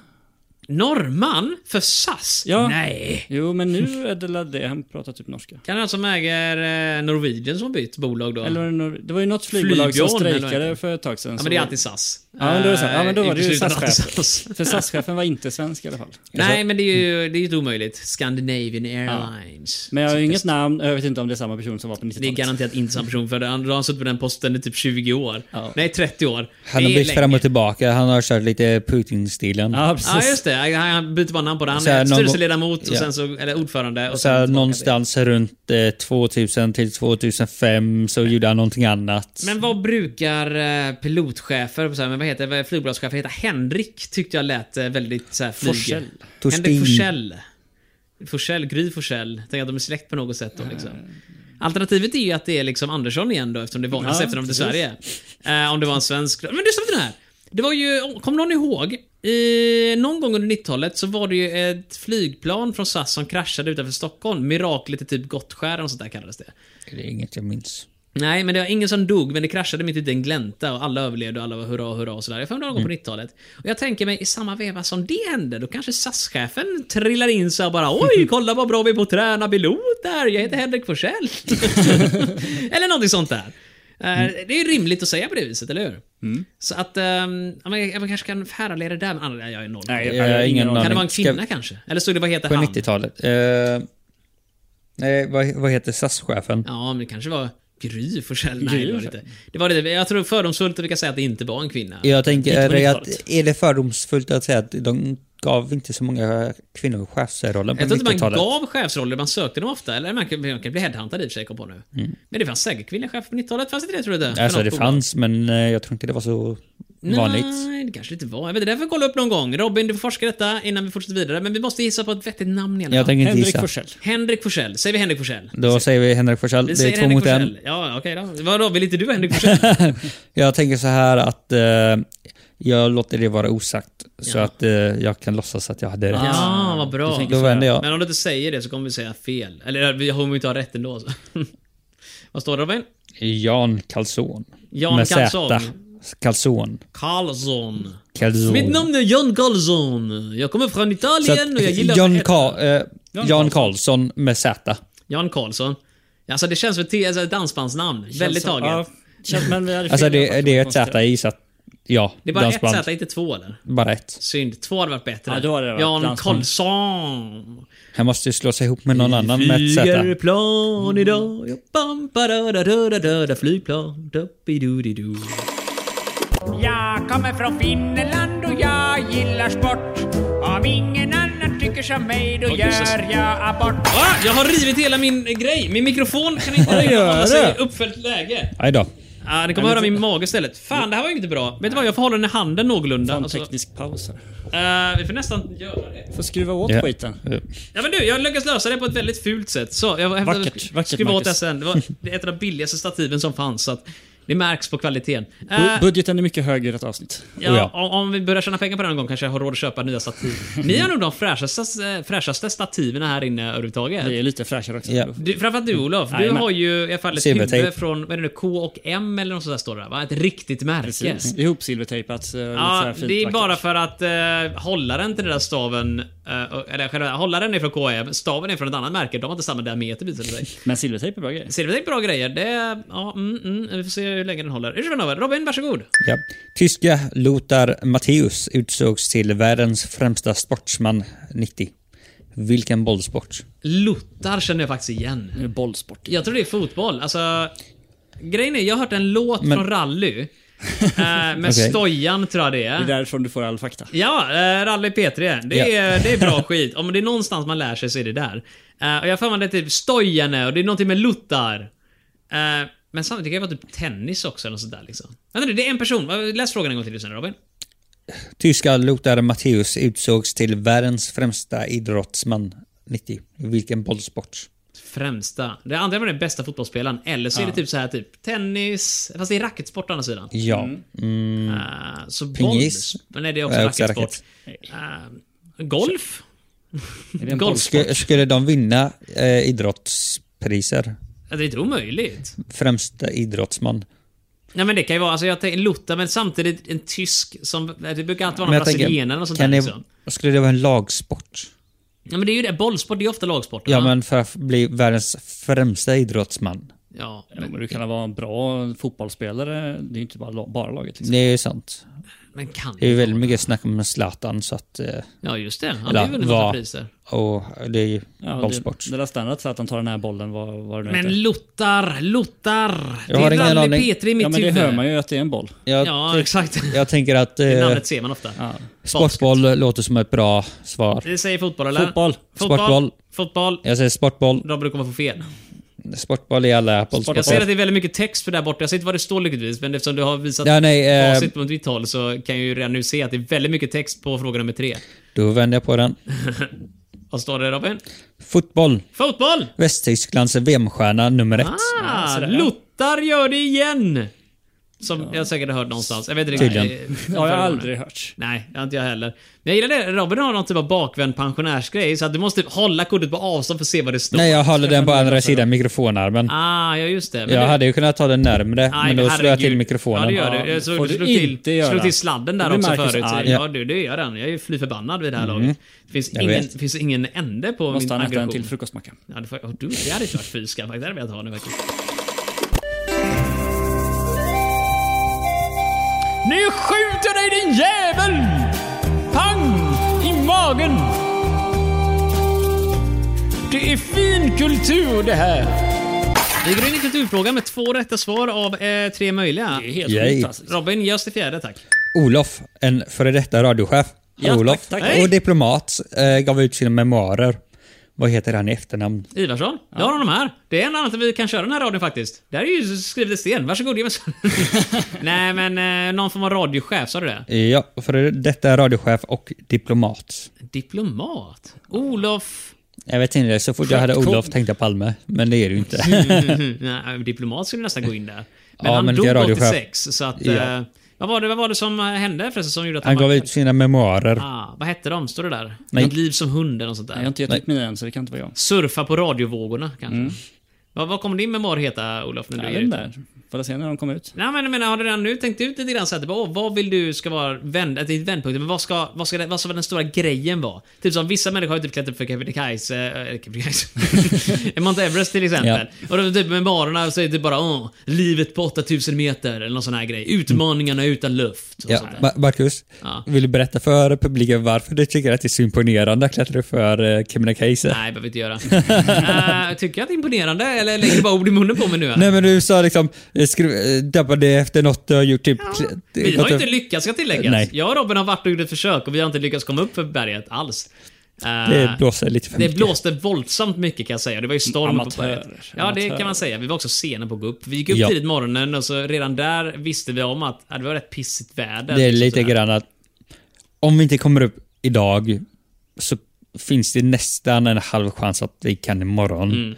Speaker 2: Norrman? För SAS?
Speaker 5: Ja.
Speaker 2: Nej.
Speaker 5: Jo, men nu är det la det. Han pratar typ norska.
Speaker 2: Kan det alltså som äger eh, Norwegian som har bytt bolag då?
Speaker 5: Eller var det, nor- det var ju något flygbolag som
Speaker 2: Flygbjörn, eller vad heter
Speaker 5: strejkade
Speaker 2: det?
Speaker 5: för ett tag sedan.
Speaker 2: Ja
Speaker 5: så-
Speaker 2: men det är alltid SAS.
Speaker 5: Ja, men då, är det så. Ja, men då
Speaker 2: Eh,
Speaker 5: var det ju
Speaker 2: inklusive
Speaker 5: SAS-chefen.
Speaker 2: SAS.
Speaker 5: För SAS-chefen var inte svensk i alla fall.
Speaker 2: Nej men det är ju det är ju inte omöjligt. Scandinavian Airlines.
Speaker 5: Men jag har ju inget namn. Jag vet inte om det är samma person som var på
Speaker 2: Det är
Speaker 5: 90-talet.
Speaker 2: garanterat inte samma person för det. Han har suttit på den posten i typ 20 år.
Speaker 5: Ja.
Speaker 2: Nej 30 år.
Speaker 3: Han
Speaker 2: Det
Speaker 3: har
Speaker 2: är
Speaker 3: bytt
Speaker 2: länge.
Speaker 3: fram och tillbaka. Han har kört lite Putin-stilen.
Speaker 5: Ja, precis.
Speaker 2: Ja just det, han han byter bara namn på det. Han
Speaker 3: Så här,
Speaker 2: är
Speaker 3: någon gång-
Speaker 2: styrelseledamot och
Speaker 3: Ja.
Speaker 2: sen så, eller ordförande. Och
Speaker 3: Så här,
Speaker 2: sen tillbaka
Speaker 3: någonstans runt eh, 2000 till 2005 så gjorde han någonting annat.
Speaker 2: till- Men vad brukar eh, pilotchefer, så här, men vad heter vad flygbolagschefer heta? Henrik tyckte jag lät eh, väldigt så här, flyg.
Speaker 5: Forsell.
Speaker 3: Torsten.
Speaker 2: Henrik Forsell. Forsell, Gry Forsell. Tänk att de är släkt på något sätt då liksom. Alternativet är ju att det är liksom Andersson igen då eftersom det var hans
Speaker 5: Ja,
Speaker 2: efternamn till
Speaker 5: precis.
Speaker 2: Sverige. Eh, om det var en svensk... Men lyssna på den här! Det var ju, kommer någon ihåg? I, någon gång under 90-talet så var det ju ett flygplan från SAS som kraschade utanför Stockholm. Miraklet i typ Gottskär och sånt där kallades det.
Speaker 3: Det är inget jag minns.
Speaker 2: Nej, men det var ingen som dog, men det kraschade mitt ute i en glänta och alla överlevde och alla var hurra, hurra och sådär. Jag får någon gång på 90-talet. Och jag tänker mig, i samma veva som det hände, då kanske SAS-chefen trillar in så här bara Oj, kolla vad bra vi är på att träna piloter! Jag heter Henrik Forsell. eller någonting sånt där. Eh, Det är ju rimligt att säga på det viset, eller hur? Så att, ehm, ja, men jag, jag kanske kan härleda det där, men nej, jag är noll.
Speaker 5: Nej,
Speaker 3: Jag har ingen
Speaker 5: aning.
Speaker 2: kan det
Speaker 3: aning.
Speaker 2: vara en
Speaker 3: Ska-
Speaker 2: kvinna kanske? Eller stod det, vad heter
Speaker 3: På
Speaker 2: han?
Speaker 3: 90-talet. Eh, nej, vad, vad heter SAS-chefen?
Speaker 2: Ja, men det kanske var Gry Forssell. Nej,
Speaker 5: Gry
Speaker 2: det var det
Speaker 5: Forssell.
Speaker 2: inte. Det var det. Jag tror fördomsfullt att vi kan säga att det inte var en kvinna.
Speaker 3: Jag tänker
Speaker 5: Mitt på
Speaker 3: är att
Speaker 5: 90-talet.
Speaker 3: är det fördomsfullt att säga att de gav inte så många kvinnor chefsrollen på
Speaker 2: Jag tror inte man
Speaker 3: 90-talet?
Speaker 2: gav chefsroller, man sökte dem ofta. Eller man kan, man kan bli headhuntad i och för sig, kom på nu. Men det fanns säkert kvinnliga chefer på 90-talet, fanns det det tror du inte?
Speaker 3: Alltså
Speaker 2: För
Speaker 3: Mm. det
Speaker 2: något
Speaker 3: fanns, men eh, jag tror inte det var så
Speaker 2: bolag.
Speaker 3: vanligt.
Speaker 2: Nej, det kanske det inte var. Jag vet inte, det får vi kolla upp någon gång. Robin, du får forska detta innan vi fortsätter vidare. Men vi måste gissa på ett vettigt namn i alla
Speaker 3: Jag
Speaker 2: fall.
Speaker 3: tänker inte
Speaker 5: Henrik
Speaker 3: gissa.
Speaker 5: Forsell.
Speaker 2: Henrik Forsell. Säger vi Henrik Forsell?
Speaker 3: Då säger vi Henrik Forsell.
Speaker 2: Vi
Speaker 3: Det är
Speaker 2: säger
Speaker 3: två
Speaker 2: Henrik
Speaker 3: mot en.
Speaker 2: Forsell. Ja, okej då. Vadå, vill inte du vara Henrik Forsell?
Speaker 3: Jag tänker så här att eh, jag låter det vara osagt. Så
Speaker 2: Ja.
Speaker 3: att eh, jag kan låtsas att jag hade rätt.
Speaker 2: ja, vad bra.
Speaker 5: Du tänker
Speaker 3: Då
Speaker 5: så,
Speaker 3: vänder jag.
Speaker 2: Men om du inte säger det så kommer vi säga fel. Eller vi kommer inte ha rätt ändå. Så. Vad står det Robin?
Speaker 3: Jan Karlsson.
Speaker 2: Jan
Speaker 3: Med
Speaker 2: Karlsson.
Speaker 3: Z. Karlsson.
Speaker 2: Karlsson.
Speaker 3: Karlsson.
Speaker 2: Mitt namn är Jan Karlsson. Jag kommer från
Speaker 3: Så
Speaker 2: Italien och jag gillar
Speaker 3: att, Jan,
Speaker 2: att äta.
Speaker 3: Ka- eh, Jan Karlsson med Z.
Speaker 2: Jan Karlsson. Alltså det känns som ett, alltså ett dansbandsnamn. Väldigt
Speaker 5: Känns som-
Speaker 2: taget.
Speaker 5: Ja, känns, men vi hade fel
Speaker 3: Alltså
Speaker 5: i alla
Speaker 3: det,
Speaker 5: fall,
Speaker 3: det är
Speaker 5: så
Speaker 3: ett Z
Speaker 5: konstigt.
Speaker 3: jag gissat Ja,
Speaker 2: Det är bara
Speaker 3: dansband.
Speaker 2: ett Z, inte två eller?
Speaker 3: Bara ett.
Speaker 2: Synd. Två hade varit bättre.
Speaker 5: Ja, då hade det varit
Speaker 2: Jan
Speaker 5: dansband.
Speaker 2: Karlsson.
Speaker 3: Han måste ju slå sig ihop med någon annan med ett
Speaker 2: Flyger
Speaker 3: Z.
Speaker 2: plan idag. Ja, bam, ba, da, da, da, da, da, da, flygplan. Doppidoodido.
Speaker 1: Jag kommer från Finland och jag gillar sport. Om ingen annan tycker som mig då gör jag abort.
Speaker 2: Ah, jag har rivit hela min eh, grej. Min mikrofon kan inte
Speaker 3: gör
Speaker 2: hålla sig
Speaker 3: det.
Speaker 2: i uppfällt läge.
Speaker 3: Aj då.
Speaker 2: Ah, ni kommer höra min mage istället. Fan, det här var ju inte bra. Vet du vad, jag får hålla den i handen någorlunda.
Speaker 5: En
Speaker 2: Alltså,
Speaker 5: teknisk paus här.
Speaker 2: eh, vi får nästan göra det.
Speaker 5: Får skruva åt
Speaker 3: Ja.
Speaker 5: skiten.
Speaker 2: Äh.
Speaker 3: Eh,
Speaker 2: Ja men du, jag lyckas lösa det på ett väldigt fult sätt. Så, jag hävdar-
Speaker 5: Vackert, vackert,
Speaker 2: skruva åt det
Speaker 5: Marcus.
Speaker 2: sen. Det var det är ett av de billigaste stativen som fanns, så att det märks på kvaliteten. Eh,
Speaker 5: Bu- Budgeten är mycket högre i detta avsnitt.
Speaker 2: ja,
Speaker 3: oh ja.
Speaker 2: Om, om vi börjar tjäna pengar på det någon gång kanske jag har råd att köpa nya stativ. Ni har nog de fräschaste, eh, fräschaste stativerna här inne
Speaker 5: Vi
Speaker 2: överhuvudtaget.
Speaker 5: är lite fräschare också.
Speaker 3: Ja.
Speaker 2: Du, framförallt du Olof, du
Speaker 5: Jajamän.
Speaker 2: har ju i alla fall ett
Speaker 3: Silvertejp.
Speaker 2: huvud från vad är det nu, K och M eller något sånt där står det där, va? Ett riktigt märke.
Speaker 5: Precis. Ihopsilvertejpat. så lite så
Speaker 2: Ja,
Speaker 5: här fint
Speaker 2: det är
Speaker 5: vackert.
Speaker 2: bara för att eh, hållaren till den där staven, eh, och- eller själva hållaren är från KM, staven är från ett annat märke. De har inte samma diameter visar det sig.
Speaker 5: Men silvertejp är bra grej.
Speaker 2: Silvertejp bra grejer. Det, ja, mm, mm, vi får se hur länge den håller. Ursäkta Nova, Robin, varsågod.
Speaker 3: Ja. Tyska Lothar Matthäus utsågs till världens främsta sportsman 90. Vilken bollsport?
Speaker 2: Lottar känner jag faktiskt igen.
Speaker 5: Nu är det bollsport.
Speaker 2: Jag tror det är fotboll. Alltså, grejen är, jag har hört en låt från rally. eh, med
Speaker 3: Okej.
Speaker 2: Stojan tror jag det är.
Speaker 5: Det är därifrån du får all fakta.
Speaker 2: Ja, eh, Rally P3. Det är,
Speaker 3: Ja.
Speaker 2: det är bra skit. Om det är någonstans man lär sig så är det där. Eh, och jag har för mig att det är typ Stojane och det är någonting med Luttar. Eh, men samtidigt kan det vara typ tennis också eller något sånt där liksom. Vänta nu, det är en person. Va, Läs frågan en gång till sen Robin.
Speaker 3: Tyska Lothar Matthäus utsågs till världens främsta idrottsman 90. Vilken bollsport?
Speaker 2: Främsta. Det andra var den bästa fotbollsspelaren. Eller så är det typ så här typ tennis. Fast det är racketsport å andra sidan.
Speaker 3: Ja. Mm.
Speaker 2: Eh, så
Speaker 3: Pingis.
Speaker 2: boll- Men nej, det är också
Speaker 3: Ja, också
Speaker 2: racketsport. Eh, golf? Golf?
Speaker 3: Sk- skulle de vinna eh, idrottspriser?
Speaker 2: Ja, Det är inte omöjligt.
Speaker 3: Främsta idrottsman?
Speaker 2: Nej men det kan ju vara, alltså jag tänker Lotta men samtidigt en tysk som, eh, det brukar alltid vara
Speaker 3: Men
Speaker 2: någon
Speaker 3: jag tänker,
Speaker 2: brasilianare och sånt där
Speaker 3: kan det-
Speaker 2: liksom.
Speaker 3: Skulle det vara en lagsport?
Speaker 2: Ja men det är ju det, bollsport det är ju ofta lagsport.
Speaker 3: Ja,
Speaker 2: va?
Speaker 3: men för att bli världens främsta idrottsman.
Speaker 2: Ja,
Speaker 5: Ja, men du kan vara en bra fotbollsspelare. Det är ju inte bara, la- bara laget. Liksom.
Speaker 3: Det är ju sant.
Speaker 2: men kan
Speaker 3: Det är ju väldigt mycket snack om Zlatan så att... Eh,
Speaker 2: Ja just det, han har ju vunnit
Speaker 3: va-
Speaker 2: massa priser.
Speaker 3: Och det är ju
Speaker 5: Ja,
Speaker 3: bollsport.
Speaker 5: Det, det där standard så att han tar den här bollen, vad, vad det nu heter.
Speaker 2: Men Lottar, Lottar! Det
Speaker 3: Jag har
Speaker 2: är
Speaker 3: ingen
Speaker 2: Rally
Speaker 3: aning.
Speaker 2: Petri i mitt
Speaker 5: Ja, men det
Speaker 2: huvud.
Speaker 5: hör man ju att det är en boll.
Speaker 3: jag,
Speaker 2: Ja, exakt.
Speaker 3: jag tänker att
Speaker 2: Det
Speaker 3: eh,
Speaker 2: namnet ser man ofta.
Speaker 5: Ja.
Speaker 3: sportboll låter som ett bra svar.
Speaker 2: Det säger fotboll eller?
Speaker 5: Fotboll.
Speaker 2: Fotboll. Fotboll.
Speaker 3: Sportboll. Jag säger sportboll.
Speaker 2: Robert, du kommer få fel.
Speaker 3: Sportboll är alla
Speaker 2: Jag ser att
Speaker 3: bollsporter.
Speaker 2: det är väldigt mycket text för där borta. Jag ser inte vad det står lyckligtvis, men eftersom du har visat
Speaker 3: Ja, nej, eh,
Speaker 2: facit mot ditt håll så kan jag ju redan nu se att det är väldigt mycket text på fråga nummer tre.
Speaker 3: Då vänder jag på den.
Speaker 2: Vad står det Robin?
Speaker 3: Fotboll.
Speaker 2: Fotboll!
Speaker 3: Västtysklands VM-stjärna nummer ett.
Speaker 2: Ah, Lottar gör det igen! Som jag säkert har hört någonstans. Jag vet inte riktigt.
Speaker 3: Tydligen.
Speaker 2: Eh,
Speaker 5: Det har jag
Speaker 2: förra gången.
Speaker 5: aldrig hört.
Speaker 2: Nej, det har inte jag heller. Men jag gillar det. Robin har någon typ av bakvänd pensionärsgrej, så att du måste typ hålla kortet på avstånd för att se vad det står.
Speaker 3: Nej, jag håller den på andra sidan mikrofonarmen.
Speaker 2: Ah, ja just det. Men
Speaker 3: Jag
Speaker 2: det-
Speaker 3: hade ju kunnat ta den närmre,
Speaker 2: Aj,
Speaker 3: men då slår jag
Speaker 2: herregud.
Speaker 3: till
Speaker 2: Ja, det
Speaker 3: mikrofonen.
Speaker 2: gör du.
Speaker 5: Ja,
Speaker 2: Jag såg,
Speaker 5: får
Speaker 2: du
Speaker 5: du
Speaker 2: slog, till,
Speaker 5: inte göra.
Speaker 2: slog till sladden där
Speaker 5: Då blir
Speaker 2: också
Speaker 5: Marcus
Speaker 2: förut.
Speaker 5: arg.
Speaker 2: Ja, du, det gör den. Jag är ju fly förbannad vid det här laget. Det finns
Speaker 3: Jag
Speaker 2: ingen,
Speaker 3: vet.
Speaker 2: finns ingen ände på
Speaker 5: Måste
Speaker 2: min
Speaker 5: han äta en till
Speaker 2: aggression.
Speaker 5: frukostmacka?
Speaker 2: Ja, det, får, oh, du, det hade inte varit fy skam. Det hade jag velat ha nu faktiskt.
Speaker 1: Nu skjuter dig din jävel! Pang! I magen! Det är fin kultur det här.
Speaker 2: Vi går in i kulturfrågan med två rätta svar av eh, tre möjliga.
Speaker 5: Det är helt
Speaker 3: Yay.
Speaker 5: sjukt alltså.
Speaker 2: Robin, ge oss det fjärde tack.
Speaker 3: Olof, en före detta radiochef.
Speaker 5: Ja,
Speaker 3: Olof.
Speaker 5: tack, tack.
Speaker 3: Och diplomat eh, gav ut sina memoarer. Vad heter han i efternamn?
Speaker 2: Ivarsson, jag har honom här. Det är en annan att vi kan köra den här radion faktiskt. Det här är ju skrivet i sten. Varsågod, ge mig så- Nej, men eh, någon form av radiochef, sa du det?
Speaker 3: Ja, för detta är radiochef och diplomat.
Speaker 2: Diplomat? Olof...
Speaker 3: Jag vet inte, så fort jag hade Olof tänkte jag Palme, men det är det ju inte.
Speaker 2: Nej, diplomat skulle nästan gå in där. Men
Speaker 3: Ja,
Speaker 2: han
Speaker 3: men det är
Speaker 2: dog
Speaker 3: radiochef.
Speaker 2: 86, så att...
Speaker 3: Ja.
Speaker 2: Eh, vad, var det, vad var det som eh, hände förresten som gjorde att
Speaker 3: Han gav
Speaker 2: var-
Speaker 3: ut sina memoarer.
Speaker 2: Ah, vad hette de? Står det där?
Speaker 3: Nej.
Speaker 2: Ett liv som hunden och sånt där?
Speaker 5: Nej, jag har inte gett upp mina än, så det kan inte vara jag.
Speaker 3: Mm.
Speaker 2: Surfa på radiovågorna kanske? Vad, vad kommer din memoar heta, Olof? När du
Speaker 5: Jag
Speaker 2: ger
Speaker 5: vet
Speaker 2: ut
Speaker 5: inte.
Speaker 2: den?
Speaker 5: där. Får jag se när de kommer ut?
Speaker 2: Nej, men jag menar, har du redan nu tänkt ut lite grann så här, typ, åh, vad vill du ska vara vänd, att det är vändpunkten, men vad ska, vad, ska det, vad ska den stora grejen vara? Typ som vissa människor har ju typ klättrat upp för Kebnekaise, eh, eller Kebnekaise, Mount Everest till exempel. Och då typ med barerna så är det typ bara, åh, livet på 8000 meter, eller någon sån här grej. Utmaningarna utan luft. Och
Speaker 3: Ja,
Speaker 2: sånt där.
Speaker 3: Ma- Marcus,
Speaker 2: Ja.
Speaker 3: vill du berätta för publiken varför du tycker att det är så imponerande att klättra för eh, Kebnekaise? Nej.
Speaker 2: Nej, behöver inte göra. Eh, tycker jag att det är imponerande, eller lägger du bara ord i munnen på mig nu? eller?
Speaker 3: men du sa liksom, eh, skru- eh, dubba det efter något du har gjort, typ... kl-
Speaker 2: Vi har
Speaker 3: klättra-
Speaker 2: ju inte lyckats ska tilläggas.
Speaker 3: Nej.
Speaker 2: Jag och Robin har varit och gjort ett försök och vi har inte lyckats komma upp för berget alls. Eh,
Speaker 3: Det blåser lite för
Speaker 2: Det
Speaker 3: mycket.
Speaker 2: blåste våldsamt mycket kan jag säga. Det var ju storm uppe på
Speaker 5: Amatörer.
Speaker 2: berget. Ja, det kan man säga. Vi var också sena på att gå upp. Vi gick upp
Speaker 3: Ja.
Speaker 2: tidigt morgonen och så redan där visste vi om att ja, det var rätt pissigt väder.
Speaker 3: Det är
Speaker 2: liksom
Speaker 3: lite
Speaker 2: sådär.
Speaker 3: grann att om vi inte kommer upp idag så finns det nästan en halv chans att vi kan imorgon.
Speaker 2: Mm.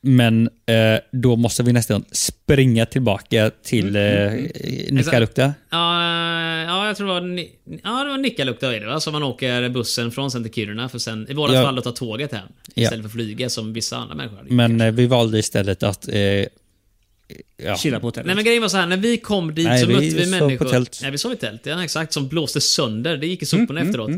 Speaker 3: Men eh, då måste vi nästan springa tillbaka till
Speaker 2: Mm.
Speaker 3: eh, Nikkaluokta.
Speaker 2: Ja, eh, ja, jag tror det var, Ni- ja, det var Nikkaluokta är det va? Som man åker bussen från sen till Kiruna för sen i vårat
Speaker 3: Ja.
Speaker 2: fall att ta tåget hem.
Speaker 3: Ja.
Speaker 2: Istället för flyga som vissa andra människor hade gjort.
Speaker 3: Men eh, vi valde istället att... Eh, ja.
Speaker 5: Chilla på hotellet.
Speaker 2: Nej men grejen var så här, när vi kom dit
Speaker 3: Nej,
Speaker 2: så
Speaker 3: vi
Speaker 2: mötte vi
Speaker 3: sov
Speaker 2: människor.
Speaker 3: på tält. Mm,
Speaker 2: Nej, vi sov i tält. Ja, exakt. Som blåste sönder. Det gick i soporna efteråt.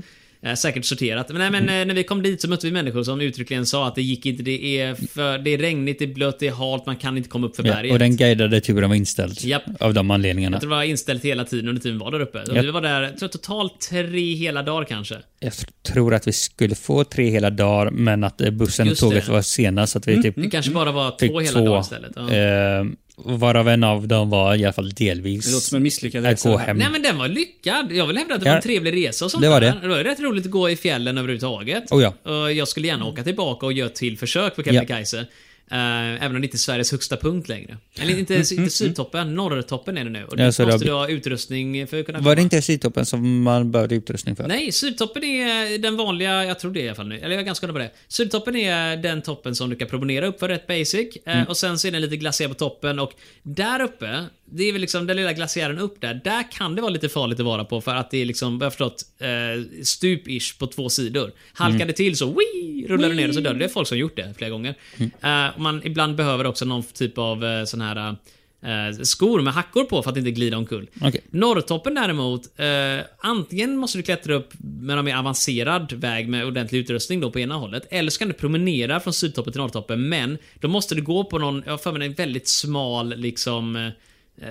Speaker 2: Eh, säkert sorterat. Men, nej, men eh, när vi kom dit så mötte vi människor som uttryckligen sa att det gick inte. Det är, för, det är regnigt, det är blött, det är halt, man kan inte komma upp för berget.
Speaker 3: Ja, och den guidade turen var inställd
Speaker 2: Japp.
Speaker 3: av de
Speaker 2: Att
Speaker 3: anledningarna.
Speaker 2: det var inställt hela tiden under tiden vi var där uppe. Så
Speaker 3: Ja.
Speaker 2: Vi var där jag tror, totalt tre hela dagar kanske.
Speaker 3: Jag tror att vi skulle få tre hela dagar, men att eh, bussen och
Speaker 2: Just det. Mm.
Speaker 3: tåget var sena så att vi typ
Speaker 2: Det kanske bara var
Speaker 3: fick
Speaker 2: två hela
Speaker 3: två.
Speaker 2: dagar istället. Ja.
Speaker 3: Eh, varav en av dem var i alla fall
Speaker 5: Det låter
Speaker 3: delvis
Speaker 5: som en misslyckad
Speaker 3: att gå hem.
Speaker 2: Nej men den var lyckad. Jag vill hävda att det
Speaker 3: Ja.
Speaker 2: var en trevlig resa och sånt
Speaker 3: Det var
Speaker 2: där.
Speaker 3: det.
Speaker 2: Det var ju rätt roligt att gå i fjällen överhuvudtaget.
Speaker 3: Oh ja.
Speaker 2: Och jag skulle gärna åka tillbaka och göra ett till försök på Kebnekaise. Eh, även om det inte är Sveriges högsta punkt längre. Eller inte, inte sydtoppen, norrtoppen är det nu. Och
Speaker 3: Mm, Ja,
Speaker 2: dit
Speaker 3: så det
Speaker 2: måste
Speaker 3: har-
Speaker 2: du ha utrustning för att kunna
Speaker 3: Var det inte sydtoppen som man behövde utrustning för?
Speaker 2: Nej, sydtoppen är den vanliga, jag tror det i alla fall nu, eller jag är ganska hundra på det. Sydtoppen är den toppen som du kan promenera upp för, rätt basic. Eh, Och sen så är den lite glaciär på toppen och där uppe, det är väl liksom den lilla glaciären upp där, där kan det vara lite farligt att vara på för att det är liksom, vad jag har förstått, eh, stup-ish på två sidor. Halkar det till så wii, rullar du ner och så dör du. Det är folk som gjort det flera gånger. Eh, och man ibland behöver också någon typ av eh, sån här eh, skor med hackor på för att inte glida omkull.
Speaker 3: Okej.
Speaker 2: Norrtoppen däremot, eh, antingen måste du klättra upp med en mer avancerad väg med ordentlig utrustning då på ena hållet, eller så kan du promenera från sydtoppen till norrtoppen, men då måste du gå på någon, jag har för mig en väldigt smal liksom, eh,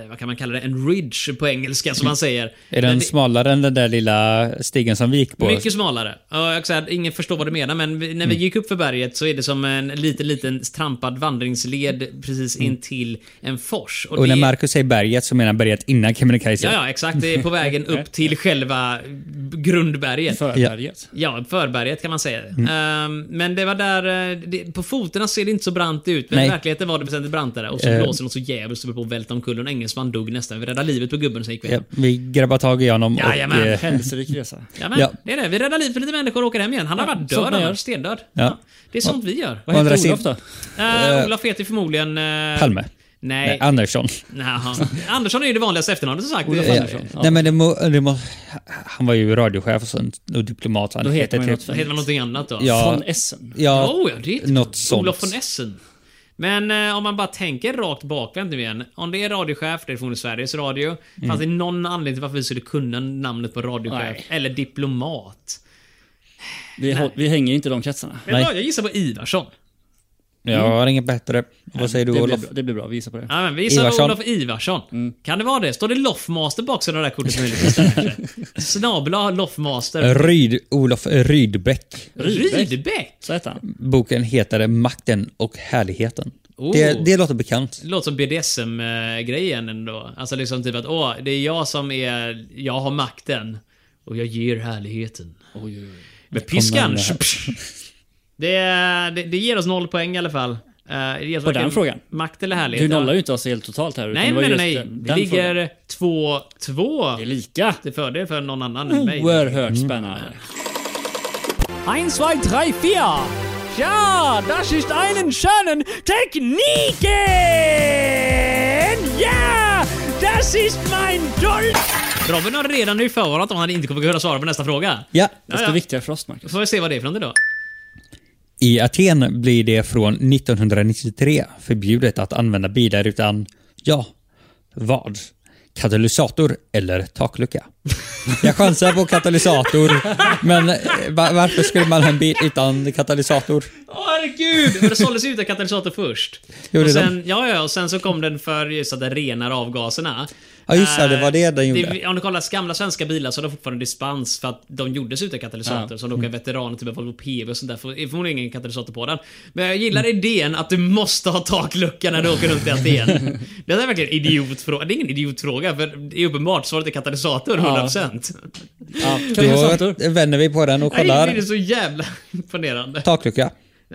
Speaker 2: vad kan man kalla det, en ridge på engelska som man säger. Men
Speaker 3: Är den
Speaker 2: det-
Speaker 3: smalare än den där lilla stigen som vi gick på?
Speaker 2: mycket smalare. Ja, jag säga, ingen förstår vad du menar, men vi, när vi
Speaker 3: Mm.
Speaker 2: gick upp för berget så är det som en liten, liten trampad vandringsled precis in till en fors.
Speaker 3: Mm. och när
Speaker 2: det-
Speaker 3: Marcus säger berget så menar han berget innan Kebnekaise.
Speaker 2: Ja, ja, exakt. Det är på vägen upp till själva grundberget.
Speaker 5: Förberget.
Speaker 2: Ja, förberget kan man säga.
Speaker 3: Mm.
Speaker 2: Ehm, men det var där... eh, Det, på fotorna ser det inte så brant ut, men
Speaker 3: Nej.
Speaker 2: i verkligheten var det väsentligt brantare. Och så
Speaker 3: Eh.
Speaker 2: blåser något så jävligt och på att välta omkull och en engelsman dog nästan. Vi räddade livet på gubben som gick
Speaker 3: Ja,
Speaker 2: vägen.
Speaker 3: vi grabbar tag i honom
Speaker 2: Jajamän.
Speaker 3: och... Eh,
Speaker 5: Händelserik resa.
Speaker 2: Ja, men,
Speaker 3: Ja.
Speaker 2: det är det. Vi räddar livet för lite människor och åker hem igen. Han har varit
Speaker 5: sånt
Speaker 2: död
Speaker 5: man gör.
Speaker 2: annars. Stendöd.
Speaker 3: Ja.
Speaker 2: Ja, det är sånt vi gör.
Speaker 5: Vad
Speaker 3: Å andra
Speaker 5: heter Olof
Speaker 3: sidan-
Speaker 5: då?
Speaker 2: Uh, Olof heter ju förmodligen... eh,
Speaker 3: Palme.
Speaker 2: Nej.
Speaker 3: Nej, Andersson.
Speaker 2: Naha. Andersson är ju det vanligaste efternamnet som sagt.
Speaker 5: Olof
Speaker 2: Eh,
Speaker 5: Andersson. Ja.
Speaker 3: Nej, men det må, det må, han var ju radiochef och, sånt, och diplomat. Han
Speaker 5: Då heter man ju
Speaker 3: typ-
Speaker 2: Heter man någonting annat då?
Speaker 3: Ja.
Speaker 5: Von Essen.
Speaker 3: Ja,
Speaker 2: Oh, ja, det är
Speaker 3: något
Speaker 2: något
Speaker 3: sånt.
Speaker 2: Olof von Essen. Men eh, om man bara tänker rakt bakvänt nu igen. Om det är radiochef, det är från Sveriges Radio.
Speaker 3: Mm.
Speaker 2: Fanns det någon anledning till varför vi skulle kunna namnet på radiochef?
Speaker 5: Nej.
Speaker 2: Eller diplomat?
Speaker 5: Vi, hå- vi hänger inte i de kretsarna.
Speaker 2: Vet du vad, jag gissar på Ivarsson.
Speaker 3: Jag har inget bättre. Vad säger
Speaker 5: Det
Speaker 3: du
Speaker 5: blir,
Speaker 3: Olof?
Speaker 5: bra. det blir bra, vi gissar på det.
Speaker 2: Ja, men vi gissar på
Speaker 3: Ivarsson.
Speaker 2: Olof Ivarsson. Kan det vara det? Står det Loffmaster på också? Det där kortet möjligtvis? kanske? Snabla Loffmaster.
Speaker 3: Ryd, Olof Rydbeck.
Speaker 5: Rydbeck.
Speaker 2: Rydbeck?
Speaker 5: Så heter han.
Speaker 3: Boken heter Makten och härligheten.
Speaker 2: Oh.
Speaker 3: Det, det låter bekant.
Speaker 2: Det låter som BDSM-grejen ändå. Alltså liksom typ att åh, det är jag som är, jag har makten. Och jag ger härligheten. Med piskan.
Speaker 3: Kommer den här.
Speaker 2: Det, det, det ger oss noll poäng i alla fall. Eh, det ger oss
Speaker 5: På den
Speaker 2: varken
Speaker 5: frågan.
Speaker 2: Makt eller härlighet.
Speaker 5: Du nollar ju inte oss helt totalt här. utan
Speaker 2: Nej,
Speaker 5: det var
Speaker 2: nej,
Speaker 5: ju
Speaker 2: nej.
Speaker 5: just
Speaker 2: nej.
Speaker 5: den-
Speaker 2: Det
Speaker 5: den frågan.
Speaker 2: ligger 2-2.
Speaker 5: Det är lika.
Speaker 2: Till fördel för någon annan
Speaker 5: Oh,
Speaker 2: än mig.
Speaker 5: Oerhört
Speaker 3: Mm.
Speaker 5: spännande.
Speaker 1: 1, 2, 3, 4. Ja, das ist einen schönen Techniken! Ja, das ist mein Dolch!
Speaker 2: Robin har redan nu förvarnat om han inte kommer kunna svara på nästa fråga.
Speaker 3: Ja,
Speaker 5: Desto viktigare för oss, Marcus.
Speaker 2: Får vi se vad det är för något idag.
Speaker 3: I Aten blir det från 1993 förbjudet att använda bilar utan, ja, vad? Katalysator eller taklucka? Jag chansar på katalysator, men eh, va- varför skulle man ha en bil utan katalysator?
Speaker 2: Åh herregud! Men det såldes ju utan katalysator först.
Speaker 3: Gjorde
Speaker 2: och sen, ja, ja, och sen så kom den för just att den renar avgaserna.
Speaker 3: Ja, just det,
Speaker 2: Eh,
Speaker 3: det var det den gjorde.
Speaker 2: om du kollar gamla svenska bilar så har de fortfarande dispens för att de gjordes utan katalysator. Så de
Speaker 3: Mm.
Speaker 2: åker veteraner, typ av Volvo PV och sånt där, får får förmodligen ingen katalysator på den. Men jag gillar
Speaker 3: Mm.
Speaker 2: idén att du måste ha taklucka när du åker runt i Aten. det är verkligen en idiotfråga. Det är ingen idiotfråga, för det är uppenbart svaret är katalysator 100%.
Speaker 3: Då vänder vi på den och
Speaker 2: Nej, det är
Speaker 3: kollar.
Speaker 2: så jävla imponerande.
Speaker 3: Taklucka.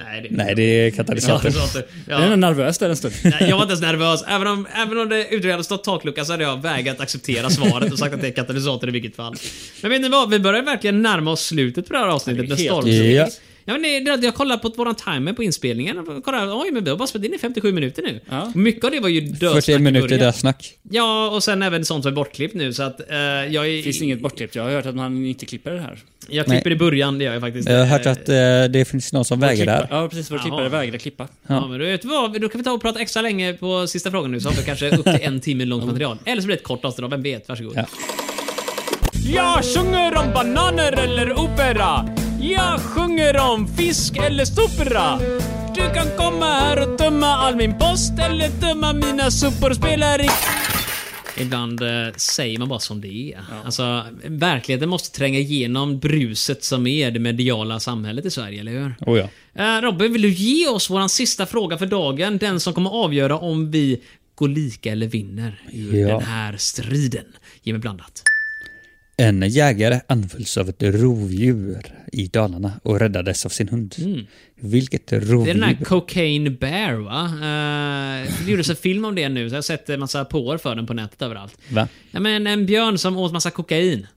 Speaker 2: Nej, det är
Speaker 3: Nej, det är katalysator.
Speaker 2: katalysator. Ja.
Speaker 5: Jag är ändå nervös där en stund.
Speaker 2: Nej, jag var inte ens nervös. Även om, även om det utredningen hade stått taklucka så hade jag vägrat acceptera svaret och sagt att det är katalysator i vilket fall. Men vet ni vad? Vi börjar verkligen närma oss slutet på det här avsnittet med
Speaker 5: helt-
Speaker 2: storm.
Speaker 3: Ja.
Speaker 2: Ja, men det, är att jag kollade på våran timer på inspelningen och kollade, oj men vi har bara spelat in i 57 minuter nu.
Speaker 5: Ja.
Speaker 2: Mycket av det var ju dödsnack
Speaker 3: 40
Speaker 2: i
Speaker 3: minuter
Speaker 2: början.
Speaker 3: där snack.
Speaker 2: Ja, och sen även sånt som är bortklippt nu så att eh, jag är...
Speaker 5: Finns det inget bortklippt? Jag har hört att man inte klipper det här.
Speaker 2: Jag klipper
Speaker 3: Nej.
Speaker 2: i början, det gör jag faktiskt.
Speaker 3: Jag har hört att eh, det finns någon som väger
Speaker 5: Klippa-
Speaker 3: där.
Speaker 5: Ja, precis. Vår klippare
Speaker 2: Jaha.
Speaker 5: vägrar klippa.
Speaker 2: Ja, men du vet vad? Då kan vi ta och prata extra länge på sista frågan nu, så har vi kanske upp till en timme långt material. Eller så blir det ett kort avsnitt, vem vet? Varsågod.
Speaker 3: Ja.
Speaker 1: Jag sjunger om bananer eller opera. Jag sjunger om fisk eller sopera. Du kan komma här och tömma all min post eller tömma mina sopor. Spelar i...
Speaker 2: Ibland eh, säger man bara som det är. Alltså, verkligheten måste tränga igenom bruset som är det mediala samhället i Sverige, eller hur?
Speaker 3: Oh, ja.
Speaker 2: Eh, Robin, vill du ge oss vår sista fråga för dagen? Den som kommer avgöra om vi går lika eller vinner i
Speaker 3: Ja.
Speaker 2: den här striden. Ge mig blandat.
Speaker 3: En jägare anfölls av ett rovdjur i Dalarna och räddades av sin hund. Vilket
Speaker 2: Mm. Det är den här
Speaker 3: rovdjur?
Speaker 2: Cocaine Bear va? Eh, det gjordes en film om det nu, så jag har sett en massa påor för den på nätet överallt.
Speaker 3: Va?
Speaker 2: Ja, men en björn som åt massa kokain.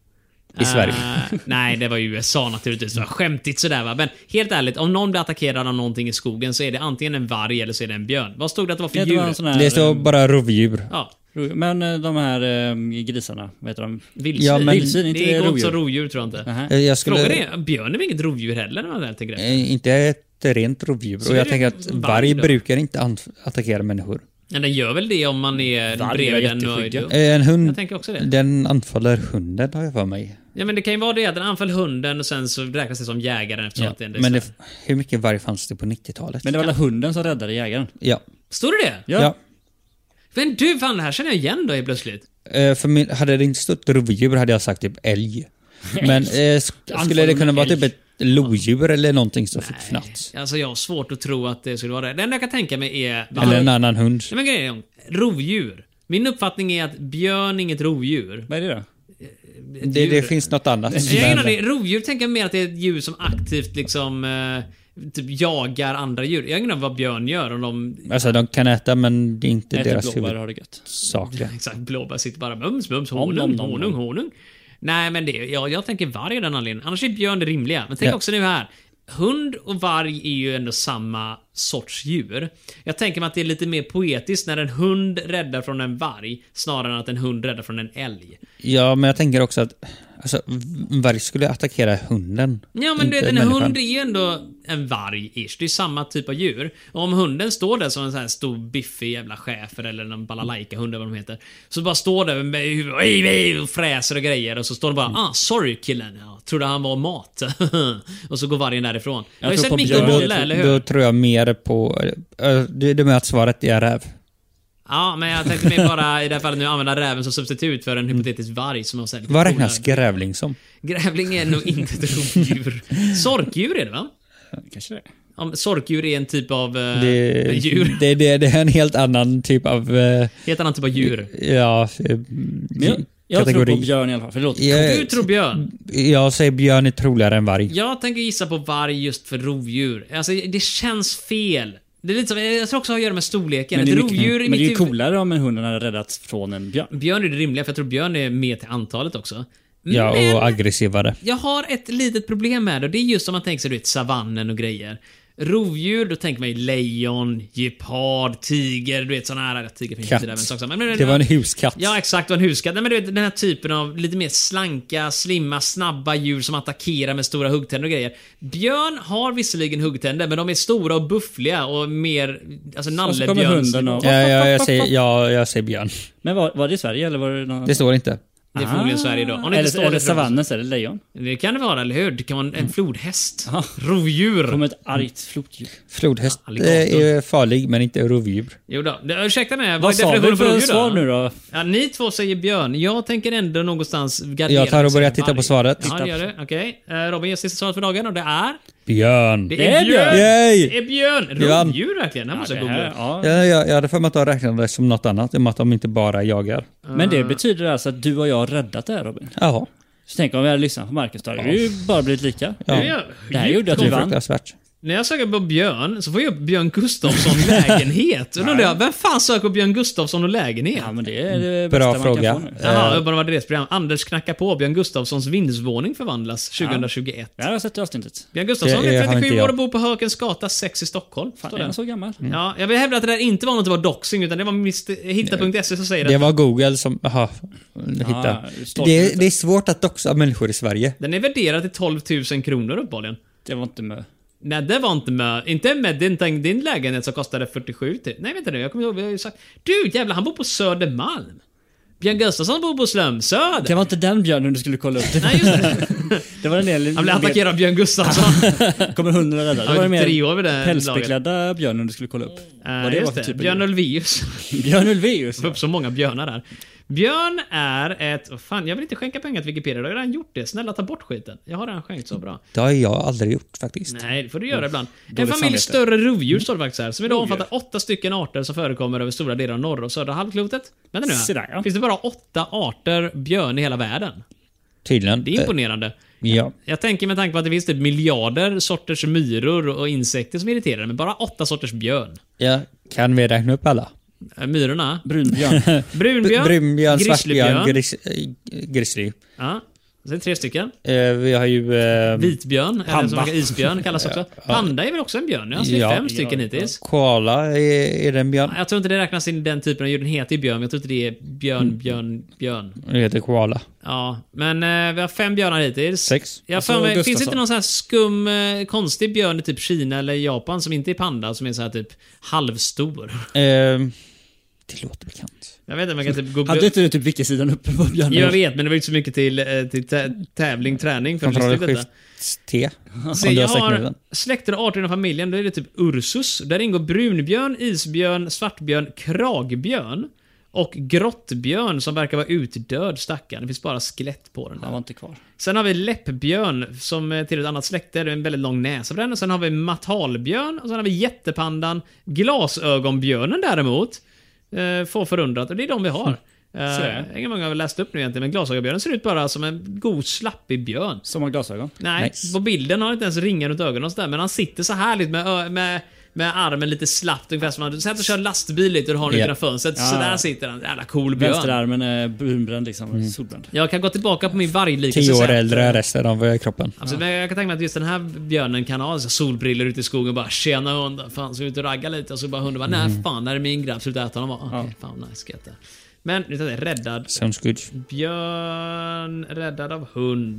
Speaker 3: I Sverige?
Speaker 2: Eh, nej, det var ju USA naturligtvis. Det var skämtigt sådär va. Men helt ärligt, om någon blir attackerad av någonting i skogen så är det antingen en varg eller så är det en björn. Vad stod det att det var för
Speaker 5: Det var en
Speaker 2: djur?
Speaker 5: sån här, eh,
Speaker 3: Det står bara rovdjur.
Speaker 2: Ja,
Speaker 5: ro- Men eh, de här eh, grisarna, vad heter de?
Speaker 2: vildsvin.
Speaker 3: Ja, men-
Speaker 5: Vildsvin, inte
Speaker 2: det går inte
Speaker 5: rovdjur.
Speaker 2: som rovdjur tror jag inte.
Speaker 5: Nähä.
Speaker 3: Eh, Jag
Speaker 2: Frågan
Speaker 3: skulle...
Speaker 2: är, björn är väl inget rovdjur heller när man väl tänker efter?
Speaker 3: eh, Inte ett rent rovdjur.
Speaker 2: Så
Speaker 3: Och
Speaker 2: är
Speaker 3: jag
Speaker 2: det
Speaker 3: tänker att
Speaker 2: varg
Speaker 3: varg
Speaker 2: då?
Speaker 3: brukar inte anf- attackera människor.
Speaker 2: Men den gör väl det om man är
Speaker 5: Varg är
Speaker 2: bredvid den och är
Speaker 5: jätteskygga.
Speaker 2: dum.
Speaker 3: Eh, En hund,
Speaker 2: Jag tänker också det.
Speaker 3: den anfaller hunden har jag för mig.
Speaker 2: Ja men det kan ju vara det att den anföll hunden och sen så räknas det som jägaren eftersom
Speaker 3: Ja.
Speaker 2: att det är en
Speaker 3: Men det, hur mycket varg fanns det på 90-talet?
Speaker 5: Men det var väl hunden som räddade jägaren?
Speaker 3: Ja.
Speaker 2: Står det det?
Speaker 5: Ja.
Speaker 3: ja.
Speaker 2: Men du, fan det här känner jag igen då helt plötsligt.
Speaker 3: Eh, För min, hade det inte stått rovdjur hade jag sagt typ älg. Men eh, sk- skulle det kunna vara typ ett lodjur eller någonting som fick fnatt?
Speaker 2: Alltså jag har svårt att tro att det skulle vara det. Det enda jag kan tänka mig är...
Speaker 3: Eller en annan hund.
Speaker 2: Nej men grejen är, rovdjur. Min uppfattning är att björn är inget rovdjur.
Speaker 5: Vad är det då?
Speaker 2: Ett
Speaker 3: Det, det
Speaker 2: djur.
Speaker 3: finns något annat.
Speaker 2: Jag
Speaker 3: Men-
Speaker 2: menar det, rovdjur tänker jag mer att det är ett djur som aktivt liksom eh, typ jagar andra djur. Jag har ingen aning vad björn gör om de...
Speaker 3: Alltså de kan äta men det är inte
Speaker 5: Äter
Speaker 3: deras
Speaker 5: blåbär och har det gött.
Speaker 3: huvudsaker.
Speaker 2: Exakt, blåbär sitter bara mums, mums,
Speaker 5: nom,
Speaker 2: honung,
Speaker 5: nom,
Speaker 2: honung,
Speaker 5: nom.
Speaker 2: honung. Nej men det, jag, jag tänker varg av den anledningen. Annars är björn det rimliga. Men tänk
Speaker 3: Ja.
Speaker 2: också nu här. Hund och varg är ju ändå samma sorts djur. Jag tänker mig att det är lite mer poetiskt när en hund räddar från en varg snarare än att en hund räddar från en älg.
Speaker 3: Ja men jag tänker också att alltså, en varg skulle attackera hunden.
Speaker 2: Ja men
Speaker 3: inte
Speaker 2: du vet, en
Speaker 3: människan.
Speaker 2: hund är ju ändå en varg-ish. Det är samma typ av djur. Och om hunden står där som en sån här stor biffig jävla schäfer eller någon balalaika-hund eller vad de heter. Så bara står där med huvudet "Oj, oj", och fräser och grejer och så står det bara ah sorry killen, jag trodde han var mat. och så går vargen därifrån. Jag har ju
Speaker 5: tror
Speaker 2: sett
Speaker 5: på
Speaker 2: Micke
Speaker 5: björn.
Speaker 2: och
Speaker 3: Då,
Speaker 2: Olle, eller
Speaker 3: då
Speaker 2: hur?
Speaker 3: tror jag mer på... eh, Det det med att svaret är räv.
Speaker 2: Ja men jag tänkte mig bara i det här fallet nu använda räven som substitut för en hypotetisk varg som har sett lite
Speaker 3: Vad
Speaker 2: coolare.
Speaker 3: räknas grävling som?
Speaker 2: Grävling är nog inte ett rovdjur. Sorkdjur är det va?
Speaker 5: Kanske det.
Speaker 2: Om sorkdjur är en typ av eh,
Speaker 3: Det,
Speaker 2: djur.
Speaker 3: det, det, det är en helt annan typ av... eh,
Speaker 2: Helt annan typ av djur.
Speaker 3: Ja, eh,
Speaker 5: Men jag, jag tror
Speaker 3: kategori.
Speaker 5: på björn i alla fall. Förlåt.
Speaker 2: Du tror björn.
Speaker 3: Jag säger björn är troligare än varg.
Speaker 2: Jag tänker gissa på varg just för rovdjur. Alltså, det känns fel. Det är lite som, jag tror också det har att göra med storleken.
Speaker 5: Men det,
Speaker 2: Ett
Speaker 5: är
Speaker 2: rovdjur i
Speaker 5: mycket, men det är ju
Speaker 2: mitt huvud...
Speaker 5: coolare om en hund hade räddats från en björn.
Speaker 2: Björn är det rimliga, för jag tror björn är med till antalet också.
Speaker 3: Ja,
Speaker 2: Men-
Speaker 3: och aggressivare.
Speaker 2: Jag har ett litet problem med det. och Det är just om man tänker sig du vet, savannen och grejer.
Speaker 3: Katt.
Speaker 2: inte där, men sak samma. Men- men-
Speaker 3: Det var en huskatt.
Speaker 2: Ja, exakt. Och en huskatt. Nej, men du vet, den här typen av lite mer slanka, slimma, snabba djur som attackerar med stora huggtänder och grejer. Björn har visserligen huggtänder, men de är stora och buffliga och mer... Alltså
Speaker 5: Och så kommer
Speaker 2: nallebjörns...
Speaker 5: hunden och...
Speaker 3: Ja, ja, jag, säger, ja, jag säger björn.
Speaker 5: Men var, var det i Sverige eller var det någon...
Speaker 3: Det står inte.
Speaker 2: Det är förmodligen Sverige då. Om det inte
Speaker 5: Ah. Eller,
Speaker 2: står det
Speaker 5: eller
Speaker 2: för-
Speaker 5: savannen så är det lejon.
Speaker 2: Det kan det vara, eller hur? Det kan vara en, en flodhäst. Rovdjur.
Speaker 5: Kommer ett argt flodjur.
Speaker 3: Flodhäst
Speaker 2: Alligator.
Speaker 3: eh, är farlig, men inte rovdjur.
Speaker 2: Jo då. Det- Ursäkta mig, vad
Speaker 5: Vad
Speaker 2: är
Speaker 5: sa du
Speaker 2: definitionen på
Speaker 5: för
Speaker 2: rovdjur
Speaker 5: svar
Speaker 2: då?
Speaker 5: nu då?
Speaker 2: Ja, ni två säger björn. Jag tänker ändå någonstans gardera
Speaker 3: Jag tar och
Speaker 2: mig som
Speaker 3: börjar titta
Speaker 2: varg.
Speaker 3: på svaret.
Speaker 2: Ja,
Speaker 3: Titta.
Speaker 2: det gör du. Okej. Eh, Robin ger sista svaret för dagen och det är?
Speaker 3: Björn.
Speaker 2: Det är
Speaker 5: är
Speaker 2: björn!
Speaker 3: Yay!
Speaker 2: Det är björn!
Speaker 3: Björn.
Speaker 2: Rovdjur verkligen. Det här måste jag
Speaker 5: Det här-
Speaker 2: googla.
Speaker 5: ja.
Speaker 3: Ja, jag, jag hade för mig att de räknade det som något annat, i och med att de inte bara jagar.
Speaker 5: Men det betyder alltså att du och jag har räddat det här Robin.
Speaker 3: Jaha.
Speaker 5: Så tänk om vi hade lyssnat på Marcus, då hade det ju bara blivit lika.
Speaker 2: Nu är jag
Speaker 5: Det här
Speaker 2: djupt
Speaker 5: gjorde att
Speaker 3: Det
Speaker 5: vi
Speaker 3: är
Speaker 5: vann.
Speaker 3: fruktansvärt.
Speaker 2: När jag söker på Björn så får jag upp Björn Gustafsson lägenhet. Och då undrar jag, vem fan söker Björn Gustafsson och lägenhet?
Speaker 5: Ja men det är det
Speaker 3: Bra
Speaker 5: bästa man
Speaker 3: fråga.
Speaker 5: kan få nu.
Speaker 2: Jaha, Urban Adressprogram. Anders knackar på. Björn Gustafssons vindsvåning förvandlas 2021.
Speaker 5: Det här har jag sett i avsnittet.
Speaker 2: Björn Gustafsson
Speaker 3: Det är-
Speaker 2: är
Speaker 3: har inte
Speaker 2: 37 år
Speaker 3: jag.
Speaker 2: och bor på Hökensgata 6 i Stockholm.
Speaker 5: Fan,
Speaker 2: Står Mm.
Speaker 5: är
Speaker 2: där.
Speaker 5: han så Mm. gammal?
Speaker 2: Ja, jag vill hävda att det där inte var något som var doxing, utan det var Mr. hitta.se som säger
Speaker 3: Det
Speaker 2: att
Speaker 3: var Google som... Jaha. Hitta.
Speaker 2: Ah,
Speaker 5: stolprutor.
Speaker 3: det, det är svårt att doxa människor i Sverige.
Speaker 2: den är värderad till 12 000 kronor uppehålligen.
Speaker 5: Det var inte med.
Speaker 2: Nej, det var inte med. Inte med din, tänk- din lägenhet som kostade 47 000. Nej, vänta nu. Jag kommer ihåg, vi har ju sagt... Du jävlar, han bor på Södermalm. Björn Gustafsson bor på Slumsöder.
Speaker 5: Det var inte den björnen du skulle kolla upp.
Speaker 2: Nej, just det.
Speaker 5: Det var den där...
Speaker 2: Han blev attackerad av Björn Gustafsson.
Speaker 5: Kommer hunden att rädda? Det
Speaker 2: Han
Speaker 5: var
Speaker 2: var typ
Speaker 5: den
Speaker 2: tre år
Speaker 5: mer
Speaker 2: vid det laget.
Speaker 5: pälsbeklädda björnen du skulle kolla upp. Vad det
Speaker 2: Uh,
Speaker 5: var
Speaker 2: just
Speaker 5: för
Speaker 2: det.
Speaker 5: typ av
Speaker 2: Björn
Speaker 5: djur.
Speaker 2: Ulvaeus.
Speaker 5: Björn Ulvaeus.
Speaker 2: Det var upp så många björnar där. Björn är ett... åh, fan, jag vill inte skänka pengar till Wikipedia. Du har redan gjort det. Snälla ta bort skiten. Jag har redan skänkt så bra.
Speaker 3: Det har jag aldrig gjort faktiskt.
Speaker 2: Nej, det får du göra ibland. En
Speaker 5: dåligt
Speaker 2: familj
Speaker 5: samvete.
Speaker 2: större rovdjur står det faktiskt här. Som idag omfattar åtta stycken arter som förekommer över stora delar av norra och södra halvklotet. Vänta nu
Speaker 5: Se
Speaker 2: här.
Speaker 5: där, ja.
Speaker 2: Finns det bara åtta arter björn i hela världen?
Speaker 3: Tydligen.
Speaker 2: Det är imponerande.
Speaker 3: Eh, Ja.
Speaker 2: Jag tänker med tanke på att det finns typ miljarder sorters myror och insekter som irriterar men bara åtta sorters björn.
Speaker 3: ja. Kan vi räkna upp alla?
Speaker 2: Äh, Myrorna?
Speaker 5: Brunbjörn.
Speaker 2: Brunbjörn?
Speaker 3: Brunbjörn,
Speaker 2: grizzlybjörn.
Speaker 3: svartbjörn, gris, eh, grizzly.
Speaker 2: Ja. Så det är tre stycken.
Speaker 3: Eh, vi har ju... Eh,
Speaker 2: Vitbjörn, eller som
Speaker 5: Panda.
Speaker 2: heter isbjörn kallas också. Panda är väl också en björn? Ja, så det är
Speaker 3: Ja.
Speaker 2: fem stycken hittills.
Speaker 3: koala, är, är det en björn?
Speaker 2: Jag tror inte det räknas in den typen av djur. Den heter ju björn, men jag tror inte det är
Speaker 3: Mm.
Speaker 2: björn, björn, björn.
Speaker 3: Det heter koala.
Speaker 2: Ja, men eh, vi har fem björnar hittills.
Speaker 3: Sex.
Speaker 2: Jag har för
Speaker 5: Alltså,
Speaker 2: mig, finns det
Speaker 5: Gustafsson.
Speaker 2: inte någon sån här skum, eh, konstig björn i typ Kina eller Japan som inte är panda, som är så här typ halvstor?
Speaker 3: Eh, det låter bekant.
Speaker 2: Jag vet inte, man kan typ googla...
Speaker 5: Hade inte du typ Wiki-sidan uppe på björnen?
Speaker 2: Jag vet, men det var inte så mycket till, eh, till tä- tävling, träning för att lista
Speaker 3: Kontroll
Speaker 2: ut detta.
Speaker 3: skift T.
Speaker 2: Se,
Speaker 3: Som du
Speaker 2: jag
Speaker 3: har sagt nu.
Speaker 2: har
Speaker 3: den.
Speaker 2: släkter och arter inom familjen. Då är det typ Ursus. Där ingår brunbjörn, isbjörn, svartbjörn, kragbjörn och grottbjörn som verkar vara utdöd stackarn. Det finns bara skelett på den
Speaker 5: Han var
Speaker 2: där.
Speaker 5: inte kvar.
Speaker 2: Sen har vi läppbjörn som är till ett annat släkte. Det är en väldigt lång näsa på den. Och Sen har vi matalbjörn och sen har vi jättepandan. Glasögonbjörnen däremot eh, får förundrat och det är de vi har.
Speaker 5: där.
Speaker 2: Eh, ingen många har väl läst upp nu egentligen, men glasögonbjörnen ser ut bara som en god slappig björn.
Speaker 5: Som har glasögon.
Speaker 2: Nej,
Speaker 3: Nice.
Speaker 2: på bilden har han inte ens ringar runt ögonen och sådär, men han sitter så härligt med, ö- med, med armen lite slappt, ungefär som han... Säg att du kör lastbil lite och du har den
Speaker 3: Ja.
Speaker 2: yeah. fönstret.
Speaker 5: Ja.
Speaker 2: Sådär sitter han. Jävla cool björn.
Speaker 5: Vänsterarmen är brunbränd liksom.
Speaker 2: Mm.
Speaker 5: Solbränd.
Speaker 2: Jag kan gå tillbaka på min vargliknelse
Speaker 3: Tio år
Speaker 2: sen.
Speaker 3: äldre än resten av eh, kroppen.
Speaker 2: Absolut, men jag kan tänka mig att just den här björnen kan ha så solbriller ute i skogen och bara “Tjena hunden, fan ska vi ut och ragga lite?” och så bara hunden bara
Speaker 3: Mm.
Speaker 2: “Nej fan, där är min grabb, sluta äta honom” bara, okay, fan nice, gött det. Men, nu tar jag räddad
Speaker 3: Sounds good.
Speaker 2: björn, räddad av hund.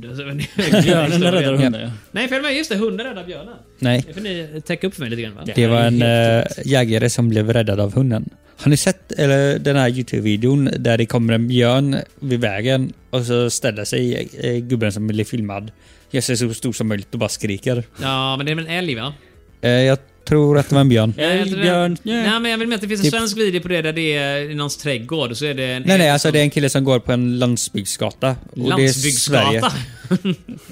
Speaker 5: Björnen är räddare hundar ja.
Speaker 2: Nej, fel mig. Just det, hunden räddar björnen.
Speaker 3: Nej.
Speaker 2: Det får ni täcka upp för mig lite grann va?
Speaker 3: Det var en eh, jägare som blev räddad av hunden. Har ni sett eller, den här Youtube-videon där det kommer en björn vid vägen och så ställer sig eh, gubben som blir filmad, gör sig så stor som möjligt och bara skriker.
Speaker 2: Ja, men det är väl en älg va?
Speaker 3: Eh, jag tror att det var en björn.
Speaker 5: Älg, björn,
Speaker 2: Nej, men jag vill med att det finns en
Speaker 3: Typ.
Speaker 2: svensk video på det där det är i någons trädgård och så är liksom- det en
Speaker 3: Nej, nej,
Speaker 2: älg
Speaker 3: alltså
Speaker 2: som-
Speaker 3: det är en kille som går på en landsbygdsgata. Och Det är
Speaker 2: Landsbygdsgata.
Speaker 3: Sverige.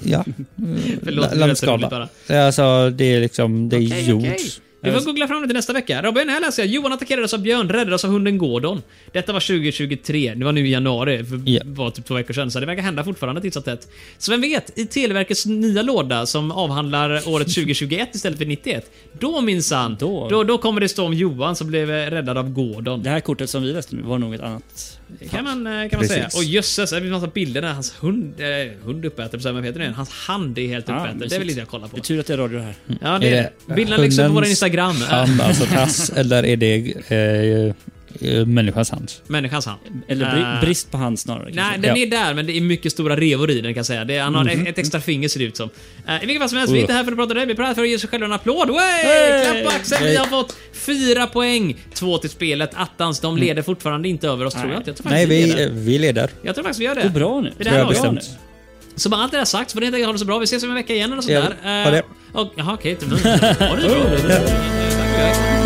Speaker 3: Ja.
Speaker 2: Förlåt, det lät så roligt bara.
Speaker 3: Alltså, det är liksom, det är jord.
Speaker 2: okej. Vi får googla fram det till nästa vecka. Robin, här läser jag. Johan attackerades av björn, räddades av hunden Gordon. Detta var 2023. Det var nu i januari. För
Speaker 3: Ja.
Speaker 2: var typ två veckor sedan, så det verkar hända fortfarande titt som tätt. Så vem vet, i Televerkets nya låda som avhandlar året 2021 istället för 91. Då minsann,
Speaker 5: Då.
Speaker 2: då. Då, kommer det stå om Johan som blev eh, räddad av Gordon.
Speaker 5: Det här kortet som vi läste nu var nog ett annat.
Speaker 2: kan man, eh, kan man
Speaker 3: Precis.
Speaker 2: säga. Och jösses, det finns massa bilder där hans hund, eh, hund uppäter, så här, vad heter det? Hans hand är helt
Speaker 5: Ah,
Speaker 2: uppäten. Det
Speaker 5: mysigt.
Speaker 2: vill inte jag kolla på.
Speaker 5: Det
Speaker 2: Mm.
Speaker 5: är tur att det är radio det här.
Speaker 2: Ja, det är det. Bilderna läggs upp på vår
Speaker 3: hundens
Speaker 2: Instagram.
Speaker 3: hand, alltså tass, eller är det eh, eh, människans hand?
Speaker 2: Människans hand.
Speaker 5: Eller bri-
Speaker 2: Eh,
Speaker 5: brist på hand snarare.
Speaker 2: Nej,
Speaker 5: kanske.
Speaker 2: den
Speaker 3: Ja.
Speaker 2: är där, men det är mycket stora revor i den kan jag säga. Det är, han har ett extra finger ser det ut som. Eh, I vilket fall som helst, vi är inte här för att prata om det. Vi är här för att ge oss själva en applåd. Wey! Klapp på axeln. Vi har fått fyra poäng. Två till spelet. Attans, de leder fortfarande inte över oss, tror jag inte. Jag tror
Speaker 3: Nej,
Speaker 2: faktiskt vi
Speaker 3: vi,
Speaker 2: leder.
Speaker 3: vi leder.
Speaker 2: Jag tror faktiskt vi gör det.
Speaker 5: Det går bra nu.
Speaker 2: Det
Speaker 3: Tror
Speaker 2: där
Speaker 3: jag
Speaker 2: har jag.
Speaker 3: bestämt.
Speaker 2: Så med allt det där sagt så får ni helt enkelt ha det så Eh, bra. Vi ses om en vecka igen eller något
Speaker 3: Ja,
Speaker 2: sånt där.
Speaker 3: ha det.
Speaker 2: Eh, och- Jaha, okej. Okay,